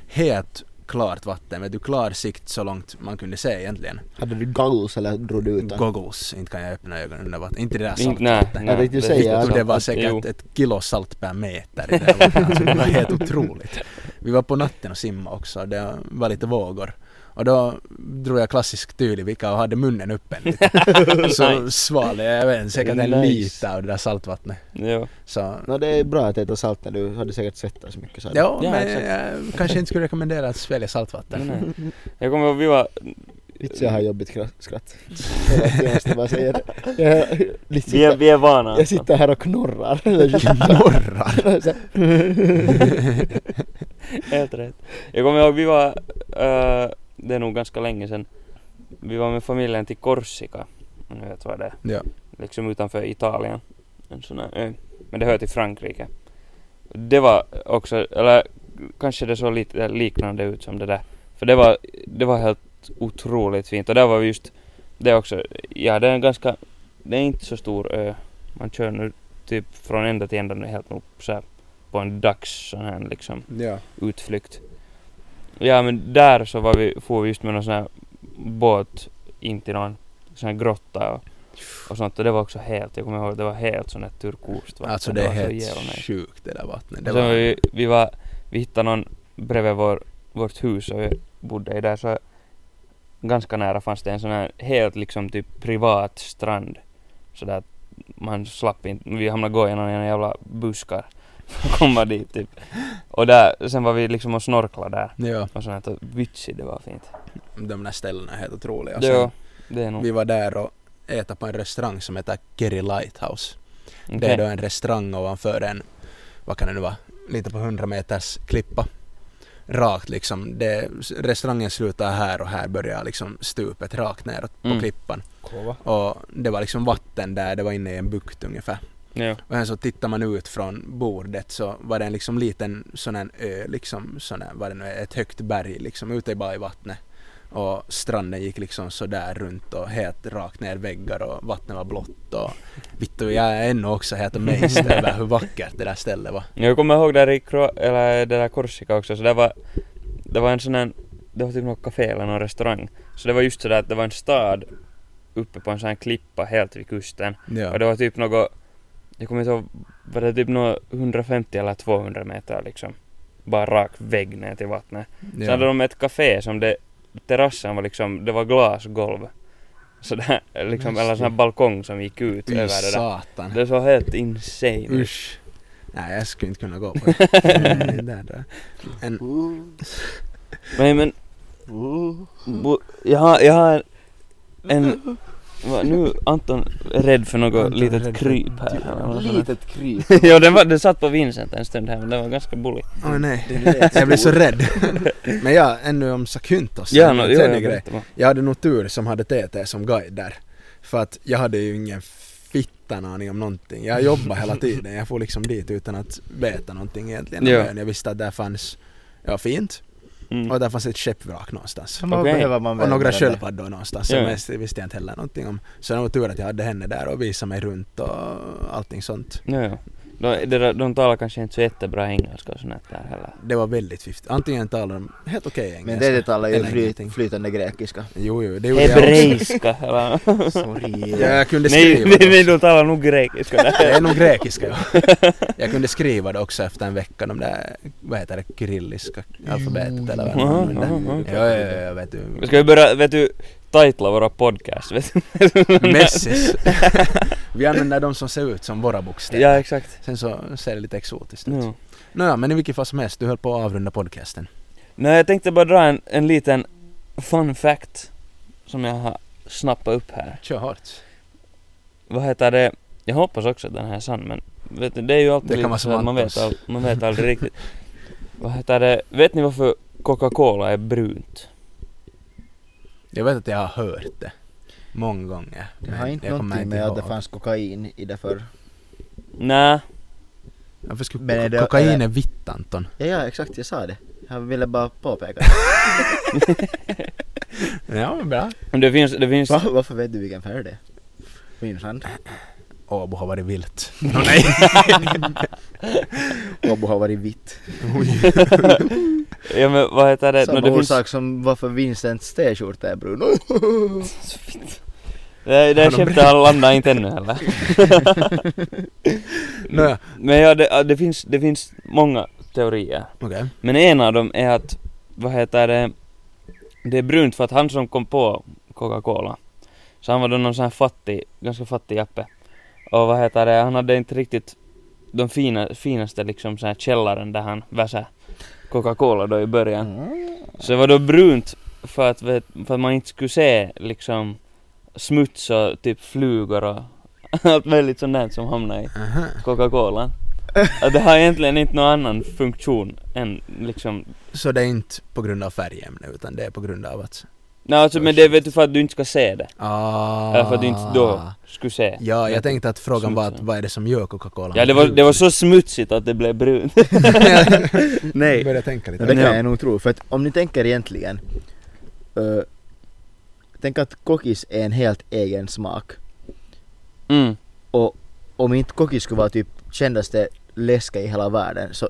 Speaker 3: Helt klart vatten, vet du, klar sikt så långt man kunde se egentligen.
Speaker 1: Hade du goggles eller drog du ut den?
Speaker 3: Goggles, inte kan jag öppna ögonen under vatten. Inte det där
Speaker 2: Inte- Nej,
Speaker 3: saltvattnet.
Speaker 2: nej.
Speaker 1: Jag tänkte säga
Speaker 2: Ja,
Speaker 3: Jo,
Speaker 1: att
Speaker 3: det var
Speaker 2: Jo.
Speaker 3: säkert ett kilo salt per meter i det här vattnet. alltså, det var helt otroligt. Vi var på natten och simma också, det var lite vågor. Och då drog jag klassisk tydlig och hade munnen öppen lite. Så svalde jag, jag vet, inte, säkert en
Speaker 2: Nice.
Speaker 3: liter av det där saltvattnet.
Speaker 2: Jo.
Speaker 3: Så
Speaker 1: No, det är bra att äta salt när du hade säkert svettats mycket. Så här.
Speaker 3: Ja,
Speaker 2: Ja,
Speaker 3: men
Speaker 2: exakt.
Speaker 3: jag kanske inte skulle rekommendera att svälja saltvatten.
Speaker 2: Nej. Jag kommer ihåg, vi var...
Speaker 1: Vitsen, jag har jobbigt kra- skratt. Jag måste bara säga det. Jag, lite
Speaker 2: Vi är,
Speaker 1: sitter,
Speaker 2: vi är vana
Speaker 1: jag
Speaker 2: alltså.
Speaker 1: sitter här och knorrar.
Speaker 3: Morrar!
Speaker 2: Helt rätt. Jag kommer ihåg, vi var, eh, det är nog ganska länge sedan, vi var med familjen till Korsika. Om ni vet vad det är.
Speaker 3: Ja.
Speaker 2: Liksom utanför Italien. En sån här ö. Men det hör till Frankrike. Det var också, eller kanske det såg lite liknande ut som det där. För det var, det var helt otroligt fint. Och där var vi just, det också, ja det är en ganska, det är inte så stor ö. Man kör nu typ från ända till ända nu helt nog så här på en dags sån här liksom
Speaker 3: ja.
Speaker 2: utflykt. Ja men där så var vi, får vi just med någon sån här båt in till någon sån här grotta och, och sånt och det var också helt, jag kommer ihåg det var helt sån här turkost vatten.
Speaker 3: Alltså det är
Speaker 2: var så
Speaker 3: helt
Speaker 2: jävla nice.
Speaker 3: sjukt det där vattnet. Det
Speaker 2: Och sen var
Speaker 3: var...
Speaker 2: vi, vi var, vi hittade någon bredvid vår, vårt hus och vi bodde i där så ganska nära fanns det en sån här helt liksom typ privat strand. Så där att man slapp inte, vi hamnade gå genom en jävla buskar för att komma dit typ. Och där, sen var vi liksom och snorklade där.
Speaker 3: Ja,
Speaker 2: Och sånt här, vitsi det var fint.
Speaker 3: de där ställena är helt otroliga. Och
Speaker 2: det,
Speaker 3: sen,
Speaker 2: var, det är nog...
Speaker 3: vi var där och äta på en restaurang som heter Kerry Lighthouse.
Speaker 2: okej.
Speaker 3: Det är då en restaurang ovanför en, vad kan det nu vara, lite på 100 meters klippa. Rakt liksom, det, restaurangen slutar här och här börjar liksom stupet rakt neråt på
Speaker 2: Mm.
Speaker 3: klippan. Och det var liksom vatten där, det var inne i en bukt ungefär.
Speaker 2: Ja.
Speaker 3: Och sen så tittar man ut från bordet så var det en liksom liten sån här ö, liksom sån här, vad det nu är, ett högt berg liksom ute i bara i vattnet. Och stranden gick liksom sådär runt och helt rakt ner väggar och vattnet var blått och vittu jag är ännu också helt amazed över hur vackert det där stället var.
Speaker 2: Jag kommer ihåg där i Kro eller det där Korsika också, så det var, det var en sån här, det var typ något café eller någon restaurang. Så det var just sådär att det var en stad uppe på en sån här klippa helt vid kusten. Och
Speaker 3: Ja.
Speaker 2: det var typ något, jag kommer inte ihåg, var det typ något 150 eller 200 meter liksom. Bara rak vägg ner till vattnet. Sen hade
Speaker 3: Ja.
Speaker 2: de ett café som det, terrassen var liksom, det var glasgolv. Så där, liksom, eller sån här balkong som gick ut
Speaker 3: Fy
Speaker 2: över det där.
Speaker 3: satan.
Speaker 2: Det såg helt insane ut.
Speaker 3: Usch. Nej jag skulle inte kunna gå på det. Nej, där, där. En,
Speaker 2: Nej men, bo, jag har, jag har en... Vad, nu Anton är rädd för något
Speaker 3: Anton är
Speaker 2: litet
Speaker 3: rädd för-
Speaker 2: kryp här. eller något sånt där.
Speaker 1: Litet kryp.
Speaker 2: jo, den, var, den satt på Vincent en stund här men den var ganska bullig.
Speaker 3: åh nej.
Speaker 1: Den är
Speaker 3: Jag blir så
Speaker 1: stor.
Speaker 3: rädd. Men ja, ännu om Sakyntos.
Speaker 2: Ja,
Speaker 3: en
Speaker 2: no, jo,
Speaker 3: tredje
Speaker 2: jag
Speaker 3: grej.
Speaker 2: vet vad.
Speaker 3: Jag hade nog tur som hade TT som guide där. För att jag hade ju ingen fittan aning om någonting. Jag jobbade hela tiden. Jag får liksom dit utan att veta någonting egentligen.
Speaker 2: Ja.
Speaker 3: Men jag visste att där fanns, ja fint,
Speaker 2: Mm.
Speaker 3: och där fanns ett skeppvrak någonstans.
Speaker 1: Vad
Speaker 2: Okej.
Speaker 1: behöver man
Speaker 3: Och några
Speaker 1: vända där?
Speaker 3: sköldpaddor någonstans,
Speaker 2: Ja.
Speaker 3: som mest visste jag inte heller någonting om. Så det var tur att jag hade henne där och visade mig runt och allting sånt.
Speaker 2: Jo, jo. De, de, de talar kanske inte så jättebra engelska och sånt där heller.
Speaker 3: Det var väldigt fiffigt. Antingen talar de helt okej engelska.
Speaker 1: Men det det talar ju
Speaker 3: Eller
Speaker 1: fly,
Speaker 3: ingenting.
Speaker 1: flytande grekiska.
Speaker 3: Jo, jo, det gjorde jag också.
Speaker 2: Hebreiska eller...
Speaker 1: Sorry.
Speaker 3: Ja, jag kunde
Speaker 2: nej,
Speaker 3: skriva
Speaker 2: nej,
Speaker 3: det
Speaker 2: nej, de talar nog grekiska där.
Speaker 3: Det är nog grekiska. ja. Jag kunde skriva det också efter en vecka, de där, vad heter det, kyrilliska alfabetet eller vad
Speaker 2: Aha,
Speaker 3: man använder.
Speaker 2: aha, aha.
Speaker 3: Ja, ja, ja, jag vet du.
Speaker 2: Ska Mm. vi börja, vet du, titla våra podcast vet du?
Speaker 3: Messis. Vi använder de som ser ut som våra bokstäver.
Speaker 2: Ja, exakt.
Speaker 3: Sen så ser det lite exotiskt ut.
Speaker 2: Jo.
Speaker 3: Nåja, men i vilket fall som helst, du höll på att avrunda podcasten.
Speaker 2: Nej, jag tänkte bara dra en, en liten fun fact som jag har snappat upp här.
Speaker 3: Kör hårt.
Speaker 2: Vad heter det? Jag hoppas också att den här är sann, men vet, du, det är ju alltid
Speaker 3: Det kan
Speaker 2: lite
Speaker 3: vara
Speaker 2: så
Speaker 3: som
Speaker 2: att man vet,
Speaker 3: Antons.
Speaker 2: all, man vet aldrig riktigt. Vad heter det? Vet ni varför Coca-Cola är brunt?
Speaker 3: Jag vet att jag har hört det. Många gånger.
Speaker 1: Det har
Speaker 3: men
Speaker 1: inte
Speaker 3: jag kommer
Speaker 1: någonting med att det
Speaker 3: ihåg.
Speaker 1: fanns kokain i det förr.
Speaker 2: Nej,
Speaker 3: Varför skulle
Speaker 1: Men är det-
Speaker 3: ko- kokain
Speaker 1: eller-
Speaker 3: är vitt Anton?
Speaker 1: Ja, ja exakt, jag sa det. Jag ville bara påpeka.
Speaker 3: Ja, men bra.
Speaker 2: men det finns, det finns...
Speaker 1: Va, varför vet du vilken färg det är? Finland.
Speaker 3: Åbo har varit vilt.
Speaker 1: Åbo har varit vitt.
Speaker 2: Ja men vad heter det?
Speaker 1: Samma
Speaker 2: det finns...
Speaker 1: orsak som varför Vincents t-skjorta är brun.
Speaker 2: Det, det här
Speaker 3: Har de
Speaker 2: skämtet har landat inte ännu heller.
Speaker 3: Nåja,
Speaker 2: Men ja, det, ja, det, finns, det finns många teorier.
Speaker 3: Okej.
Speaker 2: Men en av dem är att, vad heter det, det är brunt för att han som kom på Coca-Cola, så han var då någon sån här fattig, ganska fattig jappe. Och vad heter det, han hade inte riktigt de fina, finaste liksom så här källaren där han väsade Coca-Cola då i
Speaker 1: Mm.
Speaker 2: början. Så det var då brunt för att, vet- för att man inte skulle se liksom smuts och typ flugor och allt möjligt sånt där som hamnar i
Speaker 3: Aha.
Speaker 2: Coca-Cola. Att det har egentligen inte någon annan funktion än liksom
Speaker 3: Så det är inte på grund av färgämne utan det är på grund av att...
Speaker 2: Nej alltså men det vet du för att du inte ska se det.
Speaker 3: Ah.
Speaker 2: Eller för att du inte då skulle se.
Speaker 3: Ja, jag tänkte att frågan var att
Speaker 2: Smutsen.
Speaker 3: vad är det som gör Coca-Cola?
Speaker 2: Ja det var, det var så smutsigt att det blev brunt.
Speaker 3: Nej.
Speaker 1: Nej.
Speaker 3: Börja tänka lite.
Speaker 1: Ja, det kan
Speaker 2: Ja.
Speaker 1: jag nog tro, för att om ni tänker egentligen eh, Tänk att kokis är en helt egen smak
Speaker 2: Mm.
Speaker 1: och om inte kokis skulle vara typ kändaste läska i hela världen så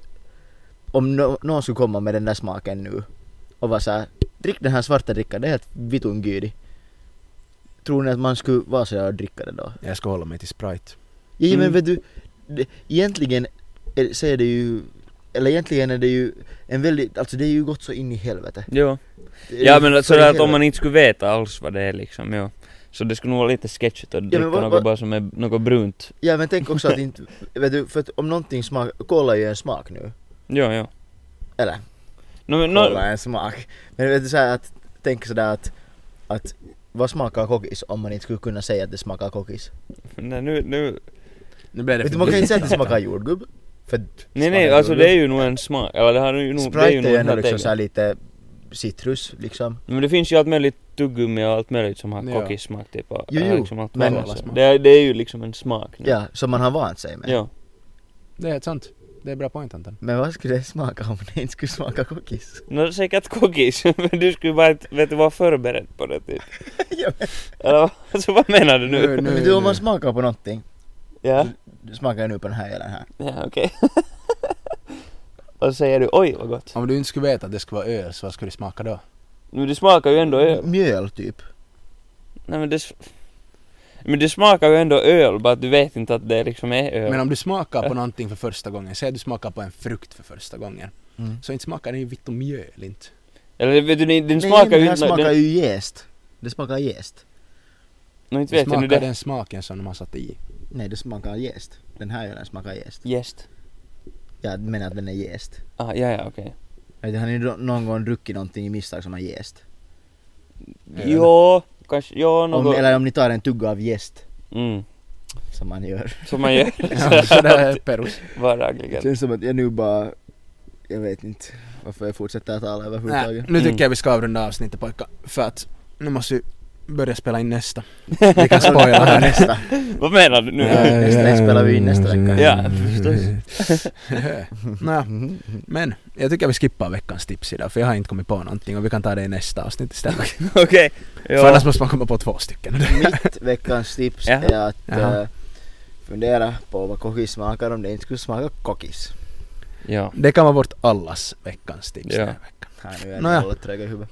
Speaker 1: om no- någon skulle komma med den där smaken nu och vara såhär drick den här svarta drickan, det är helt vitun gydig. Tror ni att man skulle vara sådär och dricka det då?
Speaker 3: Jag ska hålla mig till Sprite.
Speaker 1: Ja, ja, men
Speaker 2: Mm.
Speaker 1: vet du, det, egentligen är, så är det ju, eller egentligen är det ju en väldigt, alltså det är ju gått så in i helvete.
Speaker 2: Jo. Ja men
Speaker 1: För
Speaker 2: sådär
Speaker 1: i
Speaker 2: att om
Speaker 1: helvete.
Speaker 2: man inte skulle veta alls vad det är liksom, jo. Så det skulle nog vara lite sketchigt att dricka
Speaker 1: vad-
Speaker 2: något
Speaker 1: vad-
Speaker 2: bara som är något brunt.
Speaker 1: Ja men tänk också att inte, vet du, för att om någonting smak, kolla är ju en smak nu.
Speaker 2: Jo, jo.
Speaker 1: Eller?
Speaker 2: No, men,
Speaker 1: Kolla
Speaker 2: no,
Speaker 1: är en smak. Men vet du så här att, tänk sådär att, att vad smakar kokis om man inte skulle kunna säga att det smakar kokis?
Speaker 2: nej, nu, nu.
Speaker 3: Nu blev det
Speaker 1: Vet du,
Speaker 3: för
Speaker 1: man kan inte
Speaker 3: dyrt.
Speaker 1: säga att det smakar jordgubb. För
Speaker 2: Nej nej alltså det är ju nog en smak, eller det har ju nog, det är ju
Speaker 1: Sprite är
Speaker 2: nog
Speaker 1: ju
Speaker 2: en
Speaker 1: ändå
Speaker 2: helt
Speaker 1: liksom
Speaker 2: egen.
Speaker 1: såhär lite citrus liksom.
Speaker 2: Men det finns ju allt möjligt tuggummi och allt möjligt som har
Speaker 3: Ja.
Speaker 2: kokissmak typ och,
Speaker 1: Jo,
Speaker 2: eller
Speaker 1: jo,
Speaker 2: liksom allt
Speaker 1: men-
Speaker 2: men, det, är- det är ju liksom en smak nu.
Speaker 1: Ja, som man har vant sig med.
Speaker 2: Jo.
Speaker 3: Det är helt sant. Det är bra point Anton.
Speaker 1: Men vad skulle det smaka om det inte skulle smaka kokis?
Speaker 2: No säkert kokis, men du skulle bara inte, vet du, vara förberedd på det typ.
Speaker 1: Ja,
Speaker 2: Eller vad- alltså, vad menar du nu?
Speaker 1: Men du om man smakar på någonting,
Speaker 2: Ja,
Speaker 1: du smakar ju nu på den här eller den här.
Speaker 2: ja okej. Vad säger du? Oj vad gott.
Speaker 3: Om du inte skulle veta att det skulle vara öl, så vad skulle det smaka då?
Speaker 2: Men det smakar ju ändå öl.
Speaker 1: Mjöl typ.
Speaker 2: Nej men det... s- Men det smakar ju ändå öl, bara att du vet inte att det liksom är öl.
Speaker 3: Men om du smakar på någonting för första gången, säg att du smakar på en frukt för första gången.
Speaker 1: Mm.
Speaker 3: Så inte smakar den ju vitt och mjöl inte.
Speaker 2: Eller vet du, den, den
Speaker 1: Nej,
Speaker 2: smakar ju
Speaker 1: den här
Speaker 2: inte...
Speaker 1: smakar
Speaker 2: Den,
Speaker 1: ju jäst. Det smakar jäst.
Speaker 2: no, inte
Speaker 3: Det
Speaker 2: vet jag
Speaker 3: smakar
Speaker 2: nu det.
Speaker 3: den smaken som man satte i.
Speaker 1: Nej, det smakar jäst. Den här ölen smakar jäst.
Speaker 2: Jäst.
Speaker 1: Jag menar att den är jäst.
Speaker 2: Ah, ja, ja, okej.
Speaker 1: Har ni nå- någon gång druckit någonting i misstag som har jäst?
Speaker 3: Öl.
Speaker 2: Jo, kanske, jo,
Speaker 1: Om,
Speaker 2: något.
Speaker 1: eller om ni tar en tugga av jäst,
Speaker 2: Mm.
Speaker 1: som man gör.
Speaker 2: Som man gör
Speaker 3: Ja, så det är perus.
Speaker 1: Det
Speaker 2: vardagligen.
Speaker 1: känns som att jag nu bara... Jag vet inte varför jag fortsätter att tala
Speaker 3: Nej,
Speaker 1: överhuvudtaget.
Speaker 3: nu
Speaker 2: Mm.
Speaker 3: tycker jag vi ska avrunda avsnittet pojkar. För att nu måste vi börja spela in nästa. Vi kan spoila här.
Speaker 1: Nästa.
Speaker 2: Vad menar du nu?
Speaker 1: Ja. nästa spelar vi in nästa vecka.
Speaker 2: Ja, förstås.
Speaker 3: Nå,
Speaker 1: Mhm,
Speaker 3: men jag tycker vi skippar veckans tips idag för jag har inte kommit på någonting och vi kan ta det i nästa avsnitt istället.
Speaker 2: Okej.
Speaker 3: För
Speaker 2: Ja.
Speaker 3: annars måste man komma på två stycken.
Speaker 1: Mitt veckans tips
Speaker 2: Jaha.
Speaker 1: är att
Speaker 3: Jaha.
Speaker 1: eh, fundera på vad kokis smakar om det inte skulle smaka kokis.
Speaker 2: ja.
Speaker 3: Det kan vara vårt allas veckans tips
Speaker 2: Ja.
Speaker 3: den här veckan.
Speaker 1: Här nu är
Speaker 3: Nåja.
Speaker 1: jag hållet trög i huvudet.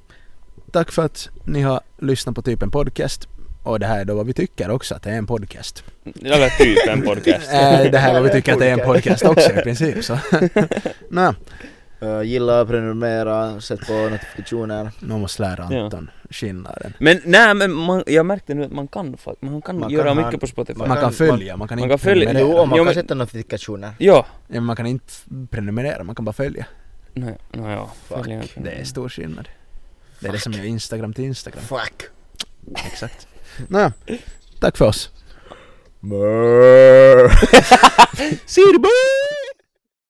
Speaker 3: Tack för att ni har lyssnat på typen podcast. Och det här är då vad vi tycker också att det är en podcast.
Speaker 2: Eller typ en podcast.
Speaker 3: Äh, det här är vad vi tycker att det är en podcast också i princip så. Nå,
Speaker 1: Eh, gilla, prenumerera, sätt på notifikationer.
Speaker 3: nu måste lära
Speaker 2: Ja.
Speaker 3: Anton skillnaden.
Speaker 2: Men nej men man, jag märkte nu att man kan fakt- man kan
Speaker 1: Man
Speaker 2: göra
Speaker 1: kan ha-
Speaker 2: mycket på Spotify.
Speaker 1: Man
Speaker 3: Man kan
Speaker 1: kan-
Speaker 3: följa, man kan
Speaker 2: man
Speaker 3: inte
Speaker 2: kan följa-
Speaker 3: prenumerera.
Speaker 1: Jo, och man
Speaker 2: Jo,
Speaker 1: kan
Speaker 2: men-
Speaker 1: sätta notifikationer.
Speaker 2: Ja.
Speaker 3: Ja, men man kan inte f- prenumerera, man kan bara följa.
Speaker 2: Nej, no, ja.
Speaker 1: Fuck.
Speaker 2: Följ-
Speaker 3: Det är stor skillnad. Det är det som gör Instagram till Instagram.
Speaker 1: Fuck!
Speaker 3: Exakt. Nåja, tack för oss.
Speaker 1: Brrr.
Speaker 3: Sirbo!